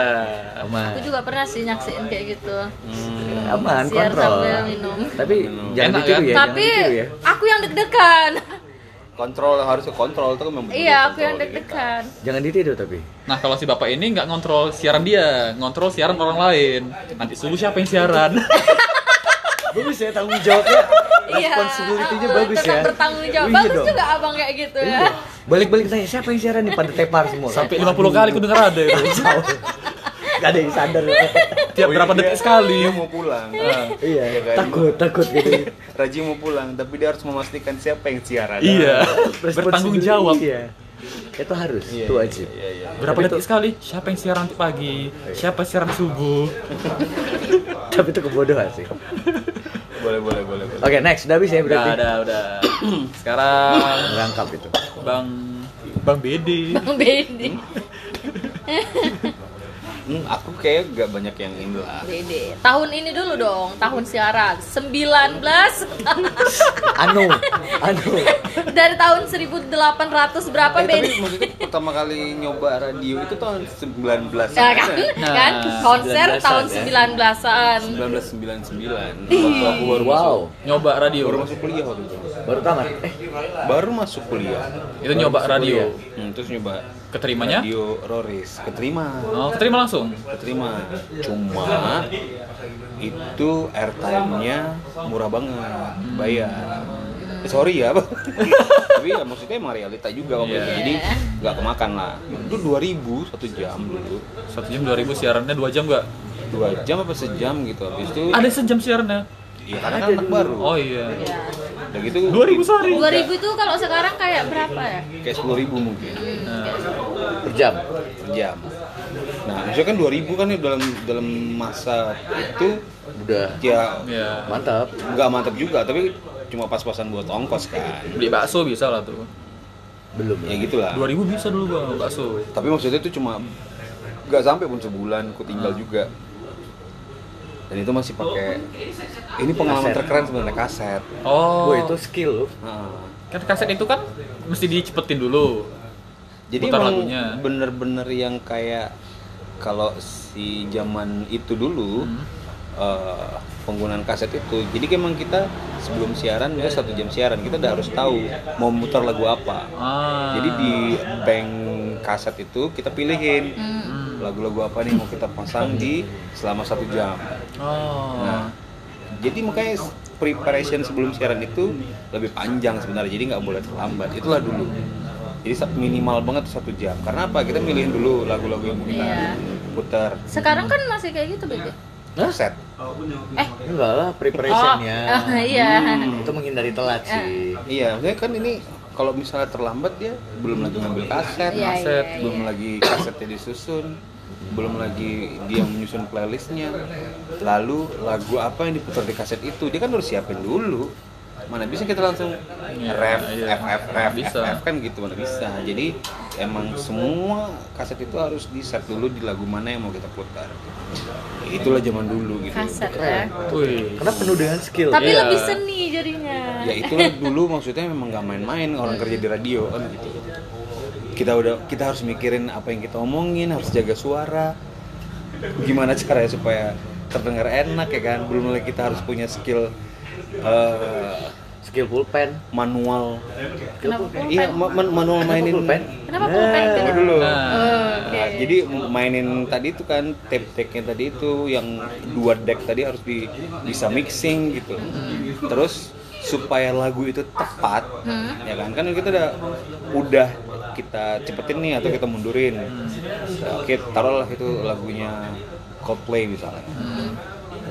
Speaker 2: Aman.
Speaker 1: Aku juga pernah sih nyaksiin kayak gitu.
Speaker 4: Hmm.
Speaker 2: Aman,
Speaker 1: Siar
Speaker 2: kontrol.
Speaker 1: sambil minum.
Speaker 2: Tapi jangan
Speaker 3: Enak,
Speaker 2: ditiru
Speaker 3: kan?
Speaker 1: Tapi
Speaker 2: ya, jangan ditiru ya.
Speaker 1: aku yang deg-degan. *laughs*
Speaker 4: Kontrol harus ke kontrol itu kan memang.
Speaker 1: iya, aku yang
Speaker 4: kontrol diri kita.
Speaker 1: deg-degan.
Speaker 2: Jangan ditiru tapi.
Speaker 3: Nah kalau si bapak ini nggak ngontrol siaran dia, ngontrol siaran orang lain. Nanti subuh siapa yang siaran?
Speaker 2: Bagus ya tanggung jawabnya. Responsibility-nya
Speaker 1: eh,
Speaker 2: bagus
Speaker 1: Iya. tetap
Speaker 2: ya.
Speaker 1: bertanggung jawab.
Speaker 2: Iya
Speaker 1: bagus
Speaker 2: dong.
Speaker 1: juga abang kayak gitu ya.
Speaker 2: Iya. Balik-balik tanya siapa yang siaran nih pada tepar semua.
Speaker 3: Sampai 50 kali aku dengar ada itu.
Speaker 2: Gak ada yang sadar.
Speaker 3: Tiap
Speaker 4: Oh, iya,
Speaker 3: berapa
Speaker 4: dia-
Speaker 3: detik sekali.
Speaker 4: Dia mau
Speaker 1: *laughs*
Speaker 4: pulang.
Speaker 2: iya,
Speaker 4: Iya kan?
Speaker 2: takut, takut gitu.
Speaker 4: Raji mau pulang, tapi dia harus memastikan siapa yang siaran.
Speaker 3: Iya. Bertanggung
Speaker 2: Responsibility,
Speaker 3: jawab.
Speaker 2: Iya. Itu harus,
Speaker 4: Iya,
Speaker 2: itu wajib.
Speaker 4: Iya, iya.
Speaker 3: Berapa detik sekali? Siapa yang siaran nanti pagi? Siapa siaran subuh?
Speaker 2: Tapi itu kebodohan sih.
Speaker 4: Boleh, boleh, boleh, boleh.
Speaker 2: Oke, next. Udah habis ya
Speaker 3: Udah,
Speaker 2: berarti.
Speaker 3: udah, udah. *clears throat* Sekarang
Speaker 2: Rangkap itu.
Speaker 3: Bang Bang Bede.
Speaker 1: Bang Bedi.
Speaker 4: Hmm, aku kayak gak banyak yang ini lah.
Speaker 1: Bedi. Tahun ini dulu dong, tahun siaran 19
Speaker 2: Anu, anu.
Speaker 1: *laughs* dari tahun 1800 berapa
Speaker 4: Eh, tapi
Speaker 1: Bedi?
Speaker 4: maksudnya pertama kali nyoba radio itu tahun 19
Speaker 1: Ya kan?
Speaker 3: Nah,
Speaker 1: kan konser
Speaker 2: 19-an,
Speaker 1: tahun
Speaker 2: ya.
Speaker 1: 19-an.
Speaker 4: 1999 waktu aku baru
Speaker 2: Wow.
Speaker 4: masuk
Speaker 3: Nyoba radio.
Speaker 4: baru masuk kuliah waktu itu
Speaker 2: Baru tamat. Eh,
Speaker 4: baru masuk kuliah
Speaker 3: Itu nyoba radio.
Speaker 4: hmm, terus nyoba
Speaker 3: Keterimanya?
Speaker 4: radio Roris keterima
Speaker 3: Oh, keterima langsung.
Speaker 4: keterima cuma itu airtime-nya murah banget bayar Eh, sorry ya *laughs* tapi ya maksudnya emang realita juga waktu itu
Speaker 3: Iya.
Speaker 4: jadi nggak kemakan lah itu 2000 satu jam dulu
Speaker 3: Satu jam 2000 siarannya dua jam nggak?
Speaker 4: dua jam apa sejam gitu habis itu
Speaker 3: Ada sejam siarannya.
Speaker 4: ya karena kan anak baru
Speaker 3: Oh iya.
Speaker 4: udah gitu
Speaker 3: 2000 sehari.
Speaker 1: 2000 Ya. itu kalau sekarang kayak berapa ya?
Speaker 4: kayak sepuluh ribu mungkin
Speaker 3: Nah,
Speaker 2: per jam.
Speaker 4: per jam nah maksudnya kan 2000 kan ya dalam dalam masa itu
Speaker 2: Udah.
Speaker 4: ya
Speaker 3: Iya.
Speaker 2: Mantap.
Speaker 4: nggak mantap juga tapi cuma pas-pasan buat ongkos kan
Speaker 3: Beli bakso bisa lah tuh.
Speaker 2: Belum.
Speaker 4: ya gitulah
Speaker 3: 2000 bisa dulu bang bakso.
Speaker 4: tapi maksudnya itu cuma nggak sampai pun sebulan aku tinggal juga dan itu masih pakai ini pengalaman
Speaker 2: Kaset.
Speaker 4: terkeren sebenarnya kaset
Speaker 3: Oh,
Speaker 2: Wah, itu skill lu.
Speaker 4: Nah,
Speaker 3: kan kaset itu kan mesti dicepetin dulu.
Speaker 4: jadi
Speaker 3: Putar
Speaker 4: emang
Speaker 3: lagunya.
Speaker 4: bener-bener yang kayak kalau si zaman itu dulu
Speaker 3: Hmm.
Speaker 4: eh, penggunaan kaset itu jadi memang kita sebelum siaran
Speaker 3: Iya,
Speaker 4: ya satu jam siaran kita udah harus tahu mau mutar lagu apa
Speaker 3: Ah.
Speaker 4: jadi di bank kaset itu kita pilihin
Speaker 1: Hmm.
Speaker 3: Hmm.
Speaker 4: lagu-lagu apa nih mau kita pasang di selama satu jam
Speaker 3: Oh.
Speaker 4: Nah, jadi makanya s- preparation sebelum siaran itu lebih panjang sebenarnya. Jadi nggak boleh terlambat. Itulah dulu. Jadi sa- minimal banget satu jam. Karena apa? Kita milihin dulu lagu-lagu yang mau kita
Speaker 1: Iya.
Speaker 4: putar.
Speaker 1: Sekarang kan masih kayak gitu, Bebe.
Speaker 4: Set.
Speaker 2: Enggak lah,
Speaker 1: *laughs*
Speaker 2: preparationnya.
Speaker 1: Oh, iya.
Speaker 2: Itu menghindari telat sih.
Speaker 4: Iya, maksudnya kan ini kalau misalnya terlambat dia belum lagi ngambil kaset,
Speaker 1: Iya,
Speaker 4: kaset,
Speaker 1: iya,
Speaker 4: belum
Speaker 1: iya.
Speaker 4: lagi kasetnya disusun, belum lagi dia menyusun playlistnya. Lalu lagu apa yang diputar di kaset itu dia kan harus siapin dulu. Mana bisa kita langsung
Speaker 3: Iya,
Speaker 4: ref,
Speaker 3: iya.
Speaker 4: ff, ref,
Speaker 3: Nggak bisa.
Speaker 4: FF kan gitu mana bisa. Jadi emang semua kaset itu harus di set dulu di lagu mana yang mau kita putar. Itulah zaman dulu gitu.
Speaker 1: Kaset ya.
Speaker 3: Wih.
Speaker 2: Karena penuh dengan skill.
Speaker 1: Tapi
Speaker 3: Iya.
Speaker 1: lebih seni jadinya.
Speaker 4: ya itulah dulu maksudnya memang nggak main-main orang kerja di radio kan gitu kita udah kita harus mikirin apa yang kita omongin harus jaga suara gimana caranya supaya terdengar enak ya kan belum lagi kita harus punya skill eh,
Speaker 2: Skill pulpen.
Speaker 4: manual
Speaker 1: Kenapa pulpen?
Speaker 4: iya ma- man- manual mainin
Speaker 2: pulpen?
Speaker 1: Kenapa pulpen?
Speaker 4: Tunggu dulu
Speaker 3: Nah.
Speaker 1: Oke.
Speaker 4: Nah, jadi mainin tadi itu kan tape decknya tadi itu yang dua deck tadi harus di- bisa mixing gitu. Terus supaya lagu itu tepat, ya kan kan kita udah udah kita cepetin nih atau kita mundurin. Nah, Oke, taruhlah itu lagunya Coldplay misalnya.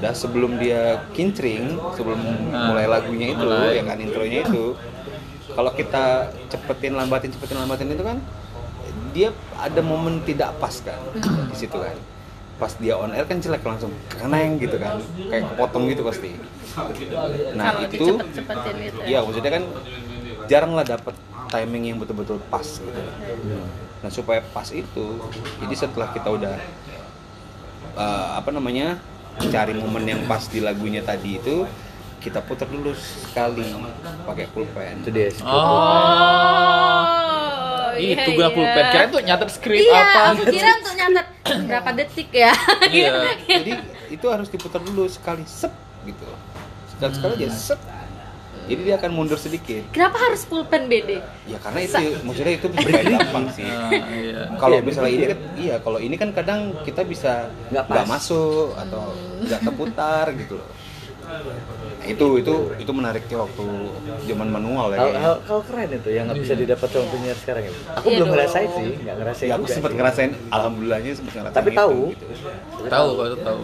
Speaker 4: Udah sebelum dia kincring, sebelum mulai lagunya itu,
Speaker 3: Mulai.
Speaker 4: ya kan intronya itu. Kalau kita cepetin lambatin cepetin lambatin itu kan dia ada momen tidak pas kan di situ kan pas dia on air kan jelek langsung keneng gitu kan kayak kepotong gitu pasti nah
Speaker 1: Kalau
Speaker 4: itu
Speaker 1: dicepet-cepetin gitu.
Speaker 4: ya maksudnya kan jarang lah dapat timing yang betul-betul pas gitu nah supaya pas itu jadi setelah kita udah eh, apa namanya cari momen yang pas di lagunya tadi itu kita putar dulu sekali pakai pulpen
Speaker 2: Itu dia skill.
Speaker 3: Oh.
Speaker 1: Oh, iya,
Speaker 3: Itu gua
Speaker 1: iya.
Speaker 3: pulpen. Kira tuh nyatet skrip
Speaker 1: Iya,
Speaker 3: apa
Speaker 1: aku
Speaker 3: gitu.
Speaker 1: kira untuk nyatet berapa detik ya.
Speaker 3: Iya.
Speaker 4: jadi itu harus diputar dulu sekali sep gitu sekali sekali aja sep jadi dia akan mundur sedikit
Speaker 1: *laughs* Kenapa harus pulpen BD?
Speaker 4: ya karena itu maksudnya itu supaya gampang sih
Speaker 3: *laughs* Nah,
Speaker 2: Ah.
Speaker 3: iya.
Speaker 4: kalau misalnya ini kan iya kalau ini kan kadang kita bisa
Speaker 2: Nggak
Speaker 4: nggak
Speaker 2: pas.
Speaker 4: masuk atau nggak terputar gitu loh Nah, itu itu itu menariknya waktu zaman manual ya
Speaker 2: Hal,
Speaker 4: kayaknya.
Speaker 2: hal, hal keren itu yang nggak
Speaker 3: Iya.
Speaker 2: bisa didapat sama penyiar sekarang ya. Aku
Speaker 1: Iya
Speaker 2: belum
Speaker 1: dong.
Speaker 2: ngerasain sih, nggak ngerasain
Speaker 4: ya aku
Speaker 2: juga
Speaker 4: sempat
Speaker 2: sih.
Speaker 4: ngerasain alhamdulillahnya sempat ngerasain
Speaker 2: gitu Tapi
Speaker 4: itu,
Speaker 2: tahu.
Speaker 4: gitu.
Speaker 3: Tahu kalau itu tahu.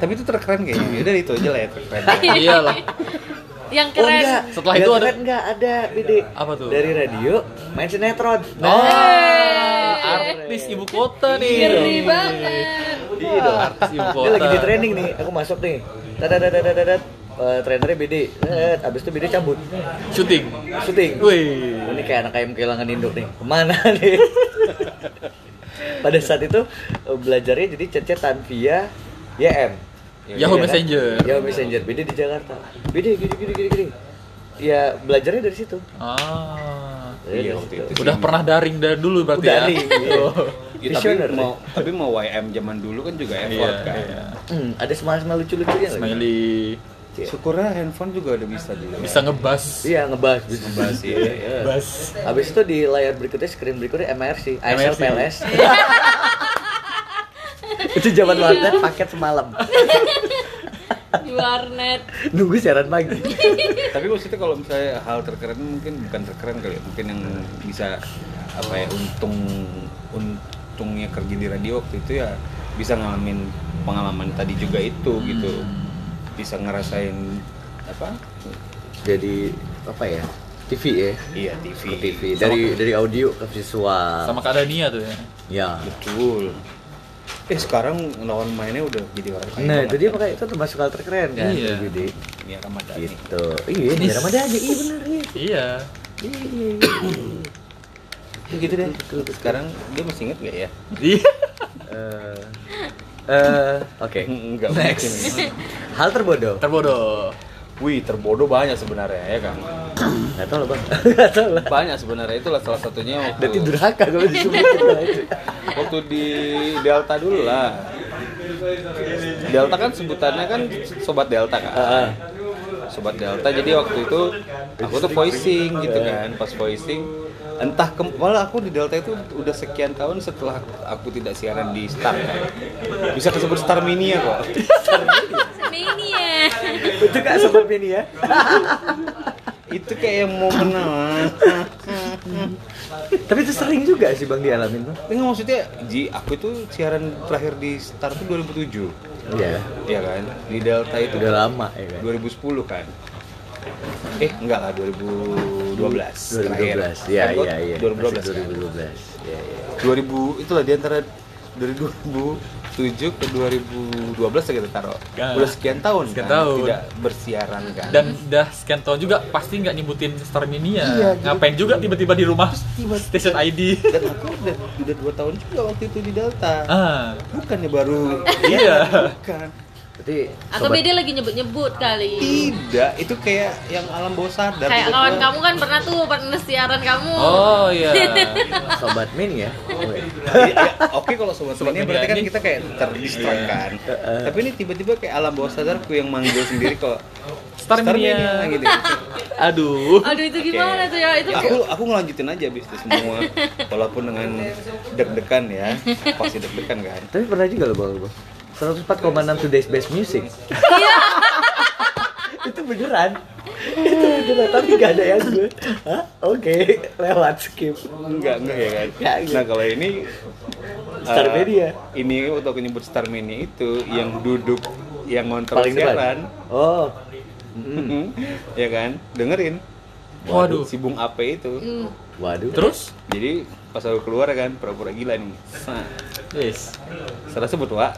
Speaker 4: tapi itu terkeren kayaknya udah itu aja lah ya terkeren
Speaker 1: Iya.
Speaker 3: Ah, Iyalah.
Speaker 1: Yang
Speaker 2: Oh
Speaker 1: keren.
Speaker 2: enggak,
Speaker 3: Setelah itu ada-
Speaker 2: enggak ada Bede.
Speaker 3: Apa tuh? Oh.
Speaker 2: Dari radio main sinetron.
Speaker 3: Nah, artis ibu kota nih.
Speaker 1: Ngeri banget.
Speaker 2: Iya dong.
Speaker 3: Artis ibu
Speaker 2: Dia
Speaker 3: kota.
Speaker 2: lagi di training nih, aku masuk nih. Dadadadadadadat. Eh, trainernya Bede. Eh, abis itu Bede cabut.
Speaker 3: Syuting.
Speaker 2: Syuting.
Speaker 3: Wih.
Speaker 2: Ini kayak anak ayam kehilangan induk nih. Kemana *laughs* nih? Pada saat itu eh, belajarnya jadi cecetan via YM.
Speaker 3: Yahoo
Speaker 2: Iya kan?
Speaker 3: Messenger.
Speaker 2: Yahoo Messenger. Beda di Jakarta. Beda gini gini gini gini. Ya belajarnya dari situ.
Speaker 3: Ah.
Speaker 4: Iya,
Speaker 2: Dari
Speaker 4: waktu
Speaker 2: situ.
Speaker 4: itu.
Speaker 3: Udah pernah daring dari dulu berarti
Speaker 2: Udah
Speaker 3: ya. *laughs*
Speaker 2: nih. iya.
Speaker 4: Ya, tapi
Speaker 2: Visioner.
Speaker 4: mau tapi mau YM zaman dulu kan juga
Speaker 3: Iya,
Speaker 4: effort kan.
Speaker 3: iya.
Speaker 2: Hmm, ada semangat-semangat lucu-lucunya lagi.
Speaker 3: Smiley
Speaker 4: Syukurnya handphone juga udah bisa dulu.
Speaker 3: bisa ngebas.
Speaker 2: Iya ngebahas
Speaker 4: Ngebahas, iya.
Speaker 3: Bas.
Speaker 2: Habis itu di layar berikutnya screen berikutnya MRC, ASL
Speaker 3: MRC.
Speaker 2: PLS. itu zaman warnet paket semalam.
Speaker 1: Di warnet.
Speaker 2: Nunggu siaran pagi.
Speaker 4: Tapi maksudnya kalau misalnya hal terkeren mungkin bukan terkeren kali ya, mungkin yang bisa apa ya untung untungnya kerja di radio waktu itu ya bisa ngalamin pengalaman tadi juga itu
Speaker 2: Hmm.
Speaker 4: gitu. Bisa ngerasain apa?
Speaker 2: Jadi apa ya? TV ya.
Speaker 4: Iya TV.
Speaker 2: Ke TV dari dari audio ke visual.
Speaker 3: Sama Kak Dania tuh ya.
Speaker 2: Ya.
Speaker 4: Betul. Eh sekarang lawan mainnya udah jadi orang kaya
Speaker 2: Nah,
Speaker 4: banget
Speaker 2: itu dia
Speaker 4: kan.
Speaker 2: makanya itu termasuk hal terkeren kan.
Speaker 3: Iya.
Speaker 2: Gede.
Speaker 4: Nia Ramadhani.
Speaker 2: Gitu. Iya, di Ramadan aja. Iya benar iya.
Speaker 3: Iya.
Speaker 4: Ya gitu deh. Sekarang dia masih inget gak
Speaker 2: *laughs*
Speaker 4: ya?
Speaker 3: Iya.
Speaker 2: Eh eh, oke.
Speaker 4: Enggak
Speaker 2: Next. Hal terbodoh.
Speaker 3: Terbodoh.
Speaker 4: Wih, terbodoh banyak sebenarnya ya kan.
Speaker 2: Enggak tahu lah, Bang. Enggak tahu lah.
Speaker 4: Banyak sebenarnya itulah salah satunya waktu
Speaker 2: Nanti durhaka kalau disebut.
Speaker 4: waktu di Delta dulu lah Delta kan sebutannya kan sobat Delta kan
Speaker 2: Heeh.
Speaker 4: sobat Delta jadi waktu itu aku tuh voicing gitu kan pas voicing entah ke, malah aku di Delta itu udah sekian tahun setelah aku tidak siaran di Star kan. bisa disebut Star Mania kok
Speaker 1: ini ya
Speaker 2: itu kak sebelumnya nih ya
Speaker 4: itu kayak mau menang
Speaker 2: tapi itu sering juga sih bang dialamin bang
Speaker 4: Enggak maksudnya Ji aku itu siaran terakhir di Star itu 2007
Speaker 2: iya
Speaker 4: Iya kan di Delta itu
Speaker 2: udah lama ya kan
Speaker 4: 2010 kan eh enggak lah 2012 terakhir
Speaker 2: 2012 iya
Speaker 4: Kan gua
Speaker 2: iya iya
Speaker 4: 2012
Speaker 2: Masih
Speaker 4: kan?
Speaker 2: 2012 iya iya
Speaker 4: 2000 itulah di antara dari 2007 ke 2012 ya kita taruh
Speaker 3: Ya.
Speaker 4: udah sekian tahun
Speaker 3: Sekian
Speaker 4: kan
Speaker 3: tahun.
Speaker 4: tidak bersiaran kan
Speaker 3: dan udah sekian tahun juga pasti nggak nyebutin Starminia ngapain juga Iya, tiba-tiba di rumah station *laughs* ID
Speaker 4: Dan aku udah udah dua tahun juga waktu itu di Delta
Speaker 3: ah
Speaker 4: bukannya baru
Speaker 3: iya
Speaker 4: bukan
Speaker 2: berarti
Speaker 1: atau beda lagi nyebut-nyebut kali
Speaker 4: tidak itu kayak yang alam bawah sadar
Speaker 1: kayak
Speaker 4: Tiba-tiba-
Speaker 1: kawan kamu kan pernah tuh partner siaran kamu
Speaker 3: oh *laughs* iya
Speaker 2: sobat min ya Oh, iya.
Speaker 4: Iya, iya. Oke kalau sobat
Speaker 3: Sobat
Speaker 4: ini berarti kan
Speaker 3: Mania ini-
Speaker 4: kita kayak terdistract
Speaker 2: Iya.
Speaker 4: kan. Tapi ini tiba-tiba kayak alam bawah sadarku yang manggil sendiri kok.
Speaker 3: Starminia
Speaker 4: gitu.
Speaker 2: Iya.
Speaker 3: aduh
Speaker 1: aduh itu gimana tuh ya itu
Speaker 4: Aku aku ngelanjutin aja abis itu semua walaupun dengan deg-degan ya. Pasti deg-degan kan.
Speaker 2: tapi pernah juga loh bang bang 104,6 Today's Best Music *laughs* itu beneran itu beneran tapi gak ada yang gue Hah? oke lewat skip
Speaker 4: Enggak, enggak ya kan.
Speaker 2: Enggak, enggak.
Speaker 4: Nah, kalau ini
Speaker 2: Starmania.
Speaker 4: eh, ini waktu aku nyebut Starmania itu yang duduk yang ngontrol
Speaker 2: paling
Speaker 4: siaran.
Speaker 2: depan Hmm. oh
Speaker 4: *laughs* ya kan? Dengerin.
Speaker 3: waduh
Speaker 4: Si Bung Ape itu.
Speaker 1: Hmm.
Speaker 2: waduh
Speaker 3: terus
Speaker 4: Jadi pas aku keluar kan pura-pura gila nih. Nah,
Speaker 3: yes
Speaker 4: salah sebut wa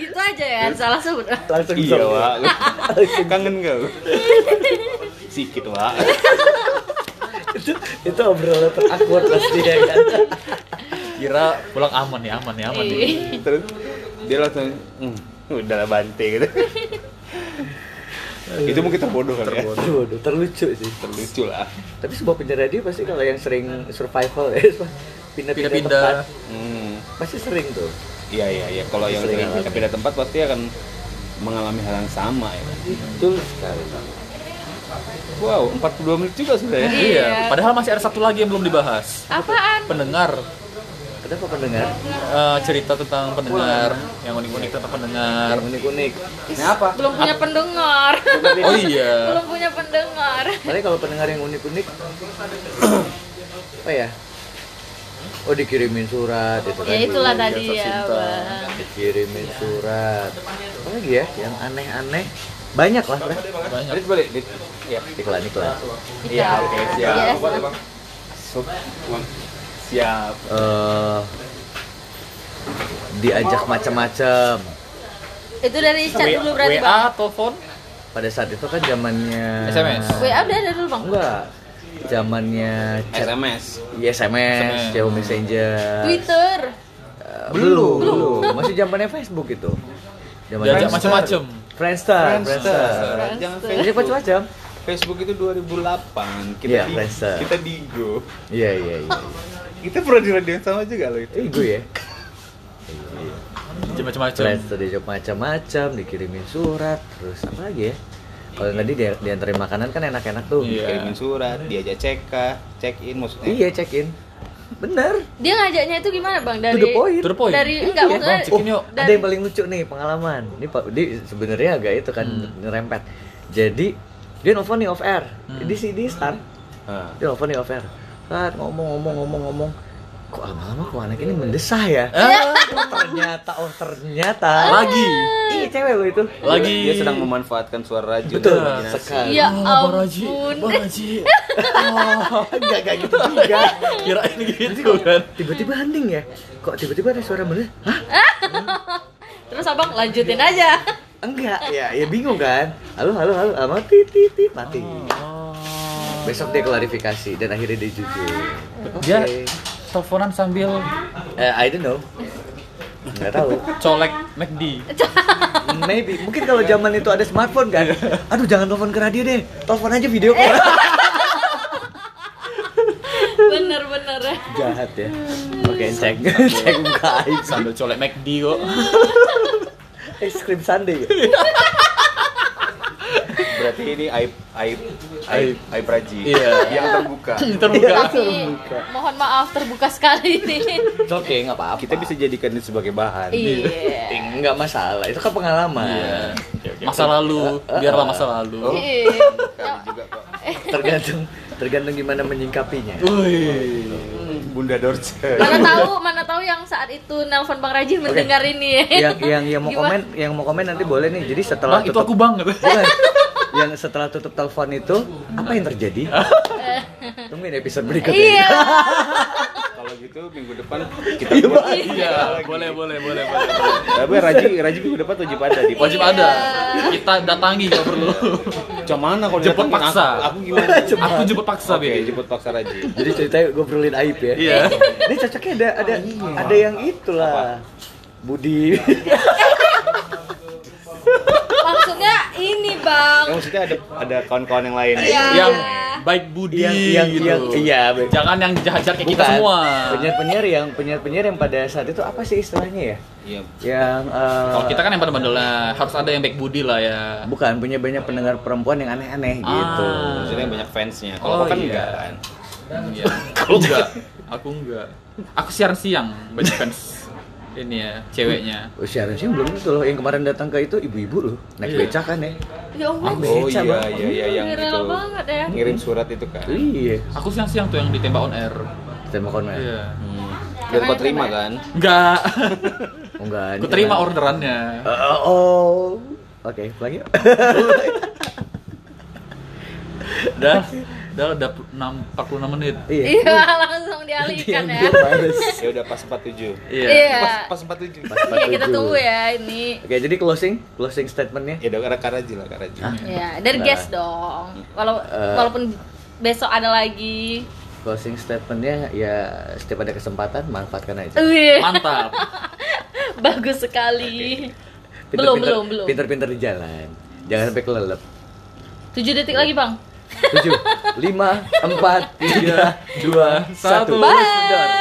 Speaker 1: itu aja ya salah sebut
Speaker 2: langsung
Speaker 4: iya
Speaker 2: song.
Speaker 4: wa kangen kau sikit wa
Speaker 2: itu itu obrolan terakward pasti ya kan
Speaker 3: kira pulang aman ya aman ya aman ya.
Speaker 1: Iya.
Speaker 4: terus dia langsung "Hmm, udah lah bante gitu itu mungkin terbodoh kan ya
Speaker 2: Aduh, aduh, terlucu sih
Speaker 4: terlucu lah
Speaker 2: tapi sebuah penyiar radio pasti kalau yang sering survival ya *laughs* pindah-pindah
Speaker 3: Pindah-pindah.
Speaker 2: tempat
Speaker 4: hmm
Speaker 2: pasti sering tuh
Speaker 4: iya iya iya kalau yang
Speaker 2: Sering
Speaker 4: sering
Speaker 2: alami.
Speaker 4: pindah tempat pasti akan mengalami hal yang sama ya
Speaker 2: betul sekali
Speaker 4: wow 42 menit juga sudah ya
Speaker 3: iya
Speaker 1: Iya.
Speaker 3: padahal masih ada satu lagi yang belum dibahas
Speaker 1: apaan
Speaker 3: pendengar
Speaker 2: kenapa pendengar
Speaker 3: Eh, cerita tentang pendengar yang unik-unik tentang pendengar
Speaker 2: yang unik-unik
Speaker 4: Kenapa?
Speaker 1: belum punya
Speaker 2: *laughs*
Speaker 1: pendengar
Speaker 3: oh iya
Speaker 1: belum punya pendengar
Speaker 2: Paling kalau pendengar yang unik-unik *clears throat* apa ya? Oh dikirimin surat itu
Speaker 1: ya
Speaker 2: kan.
Speaker 1: itulah
Speaker 3: Iya,
Speaker 1: tadi ya
Speaker 3: tercinta.
Speaker 1: bang
Speaker 2: Dikirimin surat. Apa lagi ya yang aneh-aneh? Banyak lah, Bre.
Speaker 3: banyak
Speaker 4: Dit balik, Dit. Iya.
Speaker 2: Iklan iklan.
Speaker 4: Iya, oke, siap.
Speaker 1: Iya,
Speaker 4: Sup. Siap.
Speaker 2: Eh diajak macam-macam.
Speaker 1: itu dari chat dulu berarti
Speaker 3: WA
Speaker 1: bang
Speaker 3: telepon
Speaker 2: Pada saat itu kan zamannya
Speaker 3: SMS.
Speaker 1: WA udah ada dulu bang
Speaker 2: Enggak. Zamannya chat
Speaker 4: SMS.
Speaker 2: Iya, SMS,
Speaker 3: SMS.
Speaker 2: Yahoo Messenger.
Speaker 1: Twitter
Speaker 2: Eh, belum, belum. Masih zamannya Facebook itu.
Speaker 3: diajak
Speaker 2: Friendster.
Speaker 3: macam-macam
Speaker 2: Friendster, Friendster.
Speaker 4: Jangan
Speaker 2: Jadi
Speaker 4: Facebook.
Speaker 2: macam-macam.
Speaker 4: Facebook itu 2008. Kita
Speaker 2: Iya,
Speaker 4: di,
Speaker 2: Friendster.
Speaker 4: kita digo.
Speaker 2: Iya, iya, iya.
Speaker 4: Kita pernah di radio yang sama juga loh itu.
Speaker 2: Eh, gue ya.
Speaker 3: diajak macam-macam
Speaker 2: Friendster diajak macam-macam, dikirimin surat, terus apa lagi ya? Kalau tadi dia diantarin makanan kan enak-enak tuh.
Speaker 3: Iya.
Speaker 4: Kirimin surat, diajak cek check in maksudnya.
Speaker 2: Iya, check in. Bener.
Speaker 1: dia ngajaknya itu gimana bang
Speaker 2: To
Speaker 1: dari
Speaker 2: the point.
Speaker 3: to the point
Speaker 1: dari enggak
Speaker 2: Iya.
Speaker 1: maksudnya
Speaker 3: Bang, check in yuk.
Speaker 2: Oh, ada
Speaker 1: dari
Speaker 2: yang paling lucu nih pengalaman. Ini Pak, ini sebenarnya agak itu kan ngerempet. Jadi dia nelfon nih off air.
Speaker 3: Hmm.
Speaker 2: Di sini start.
Speaker 4: Ah.
Speaker 2: Dia nelfon nih off air. Start ngomong ngomong ngomong ngomong. Kok lama-lama kok anak ini mendesah ya?
Speaker 3: Ah,
Speaker 2: Oh, ternyata, oh ternyata.
Speaker 3: lagi
Speaker 2: Iya cewek lo itu.
Speaker 3: lagi
Speaker 4: Dia sedang memanfaatkan suara radio
Speaker 2: Betul
Speaker 4: dan imajinasi.
Speaker 2: sekali.
Speaker 1: Iya.
Speaker 3: Ah, Bang Raji,
Speaker 1: ampun.
Speaker 3: Bang Raji. Wah,
Speaker 2: Enggak enggak gitu juga.
Speaker 3: kirain gitu kan
Speaker 2: Tiba-tiba hening ya. Kok tiba-tiba ada suara bener? Hah?
Speaker 1: terus abang lanjutin aja *laughs*
Speaker 2: Enggak. Ya, ya bingung kan. Halo halo halo. Ah, mati tit tit mati. Oh. Besok dia klarifikasi dan akhirnya dia jujur.
Speaker 3: dia
Speaker 2: Oke.
Speaker 3: teleponan sambil
Speaker 2: Eh, I don't know. Enggak tahu.
Speaker 3: colek McD
Speaker 2: Maybe mungkin kalau zaman itu ada smartphone kan. Aduh jangan telepon ke radio deh. Telepon aja video call.
Speaker 1: bener bener-bener ya.
Speaker 2: jahat ya oke cek *laughs* cek muka Aing.
Speaker 3: sambil colek McD kok
Speaker 2: es krim sundae ya?
Speaker 4: Berarti ini aib aib aib aib Raji
Speaker 3: Iya.
Speaker 4: yang terbuka.
Speaker 2: Iya,
Speaker 3: terbuka
Speaker 1: Tapi, mohon maaf terbuka
Speaker 2: *laughs*
Speaker 1: sekali ini.
Speaker 2: oke nggak apa-apa
Speaker 4: Kita bisa jadikan ini sebagai bahan.
Speaker 1: Iya.
Speaker 2: nggak masalah itu kan pengalaman
Speaker 3: Iya. masa lalu biarlah masa
Speaker 4: Oh.
Speaker 3: lalu
Speaker 1: Iya.
Speaker 4: Kami juga kok.
Speaker 2: tergantung tergantung gimana menyingkapinya
Speaker 3: Wih.
Speaker 4: Bunda Dorce.
Speaker 3: *laughs*
Speaker 1: Mana tahu, mana tahu yang saat itu nelpon Bang Rajin mendengar ini.
Speaker 2: yang yang yang mau
Speaker 1: Gimana?
Speaker 2: komen yang mau komen nanti boleh nih jadi setelah
Speaker 3: Bang, itu
Speaker 2: *laughs*
Speaker 3: aku banget
Speaker 2: Bukan. yang setelah tutup telepon itu apa yang
Speaker 1: *laughs*
Speaker 2: terjadi tungguin episode berikutnya
Speaker 1: Iya.
Speaker 4: Kalau gitu minggu depan kita
Speaker 2: Iya,
Speaker 4: buat-
Speaker 3: iya boleh boleh boleh boleh
Speaker 4: Tapi Raji Raji minggu depan wajib ada di.
Speaker 3: wajib ada kita datangi kalau perlu
Speaker 4: Cuma mana kalau
Speaker 3: Jemput
Speaker 4: datang kan
Speaker 3: paksa.
Speaker 4: Aku, aku gimana?
Speaker 3: aku jemput paksa
Speaker 4: Oke,
Speaker 3: be
Speaker 4: jemput paksa Raji.
Speaker 2: jadi ceritanya ngobrolin aib ya
Speaker 3: iya
Speaker 2: ini cocoknya ada ada
Speaker 1: Oh, iya.
Speaker 2: ada yang itulah Budi
Speaker 1: Maksudnya ini, Bang.
Speaker 4: Ya, maksudnya ada ada kawan-kawan yang lain.
Speaker 1: Iya.
Speaker 3: yang baik budi
Speaker 2: yang yang
Speaker 3: gitu
Speaker 2: yang iya be-
Speaker 3: jangan yang jahat jahat kayak kita
Speaker 2: bukan.
Speaker 3: semua
Speaker 2: penyiar-penyiar yang penyiar-penyiar yang pada saat itu apa sih istilahnya ya
Speaker 4: Iya.
Speaker 2: yang eh,
Speaker 3: kalau kita kan yang pada bandelnya harus ada yang baik budi lah ya
Speaker 2: bukan punya banyak pendengar perempuan yang aneh-aneh gitu
Speaker 3: Ah.
Speaker 4: Maksudnya banyak fansnya. Kalau aku
Speaker 3: Oh,
Speaker 4: kan
Speaker 3: iya.
Speaker 4: enggak kan.
Speaker 3: Iya. Aku enggak. Aku enggak. Aku siaran siang banyak fans ini ya ceweknya.
Speaker 2: Oh, siaran sih belum itu loh yang kemarin datang ke itu ibu-ibu loh naik
Speaker 3: Iya.
Speaker 2: becak kan ya
Speaker 1: Ya Allah.
Speaker 2: Aku
Speaker 4: Oh
Speaker 2: Beca,
Speaker 4: iya
Speaker 2: Bang.
Speaker 4: iya iya yang
Speaker 1: Viral
Speaker 4: itu.
Speaker 1: banget Hmm. ya.
Speaker 4: Ngirim surat itu kan.
Speaker 2: iya
Speaker 3: Aku siang siang tuh yang ditembak on air.
Speaker 2: kita mau komen
Speaker 3: Iya.
Speaker 4: Hmm. Dan kau terima kan?
Speaker 3: Enggak.
Speaker 2: Oh, enggak
Speaker 3: Aku terima
Speaker 2: jangan.
Speaker 3: orderannya.
Speaker 2: Eh, eh, oh oke pulang yuk *laughs*
Speaker 3: Udah, udah udah 6, 46 menit.
Speaker 2: iya
Speaker 1: Iya, langsung dialihkan ya.
Speaker 4: Ya udah pas 47.
Speaker 1: Iya.
Speaker 4: Pas pas 47.
Speaker 1: Iya, kita
Speaker 2: 47.
Speaker 1: tunggu ya ini.
Speaker 2: oke jadi closing closing statementnya
Speaker 4: Ya udah karena Raji lah Kak Raji.
Speaker 1: Ya, dari
Speaker 2: Nah.
Speaker 1: guest dong. Walau
Speaker 2: Eh.
Speaker 1: walaupun besok ada lagi.
Speaker 2: closing statementnya ya setiap ada kesempatan manfaatkan aja *laughs*
Speaker 1: Wih,
Speaker 3: Mantap.
Speaker 1: bagus sekali. Belum,
Speaker 2: Pinter-pinter-
Speaker 1: belum, belum.
Speaker 2: pinter-pinter di jalan jangan sampai kelelep
Speaker 1: 7 detik lagi, Bang.
Speaker 2: tujuh lima empat tiga dua
Speaker 3: Satu.
Speaker 2: satu
Speaker 1: Bye.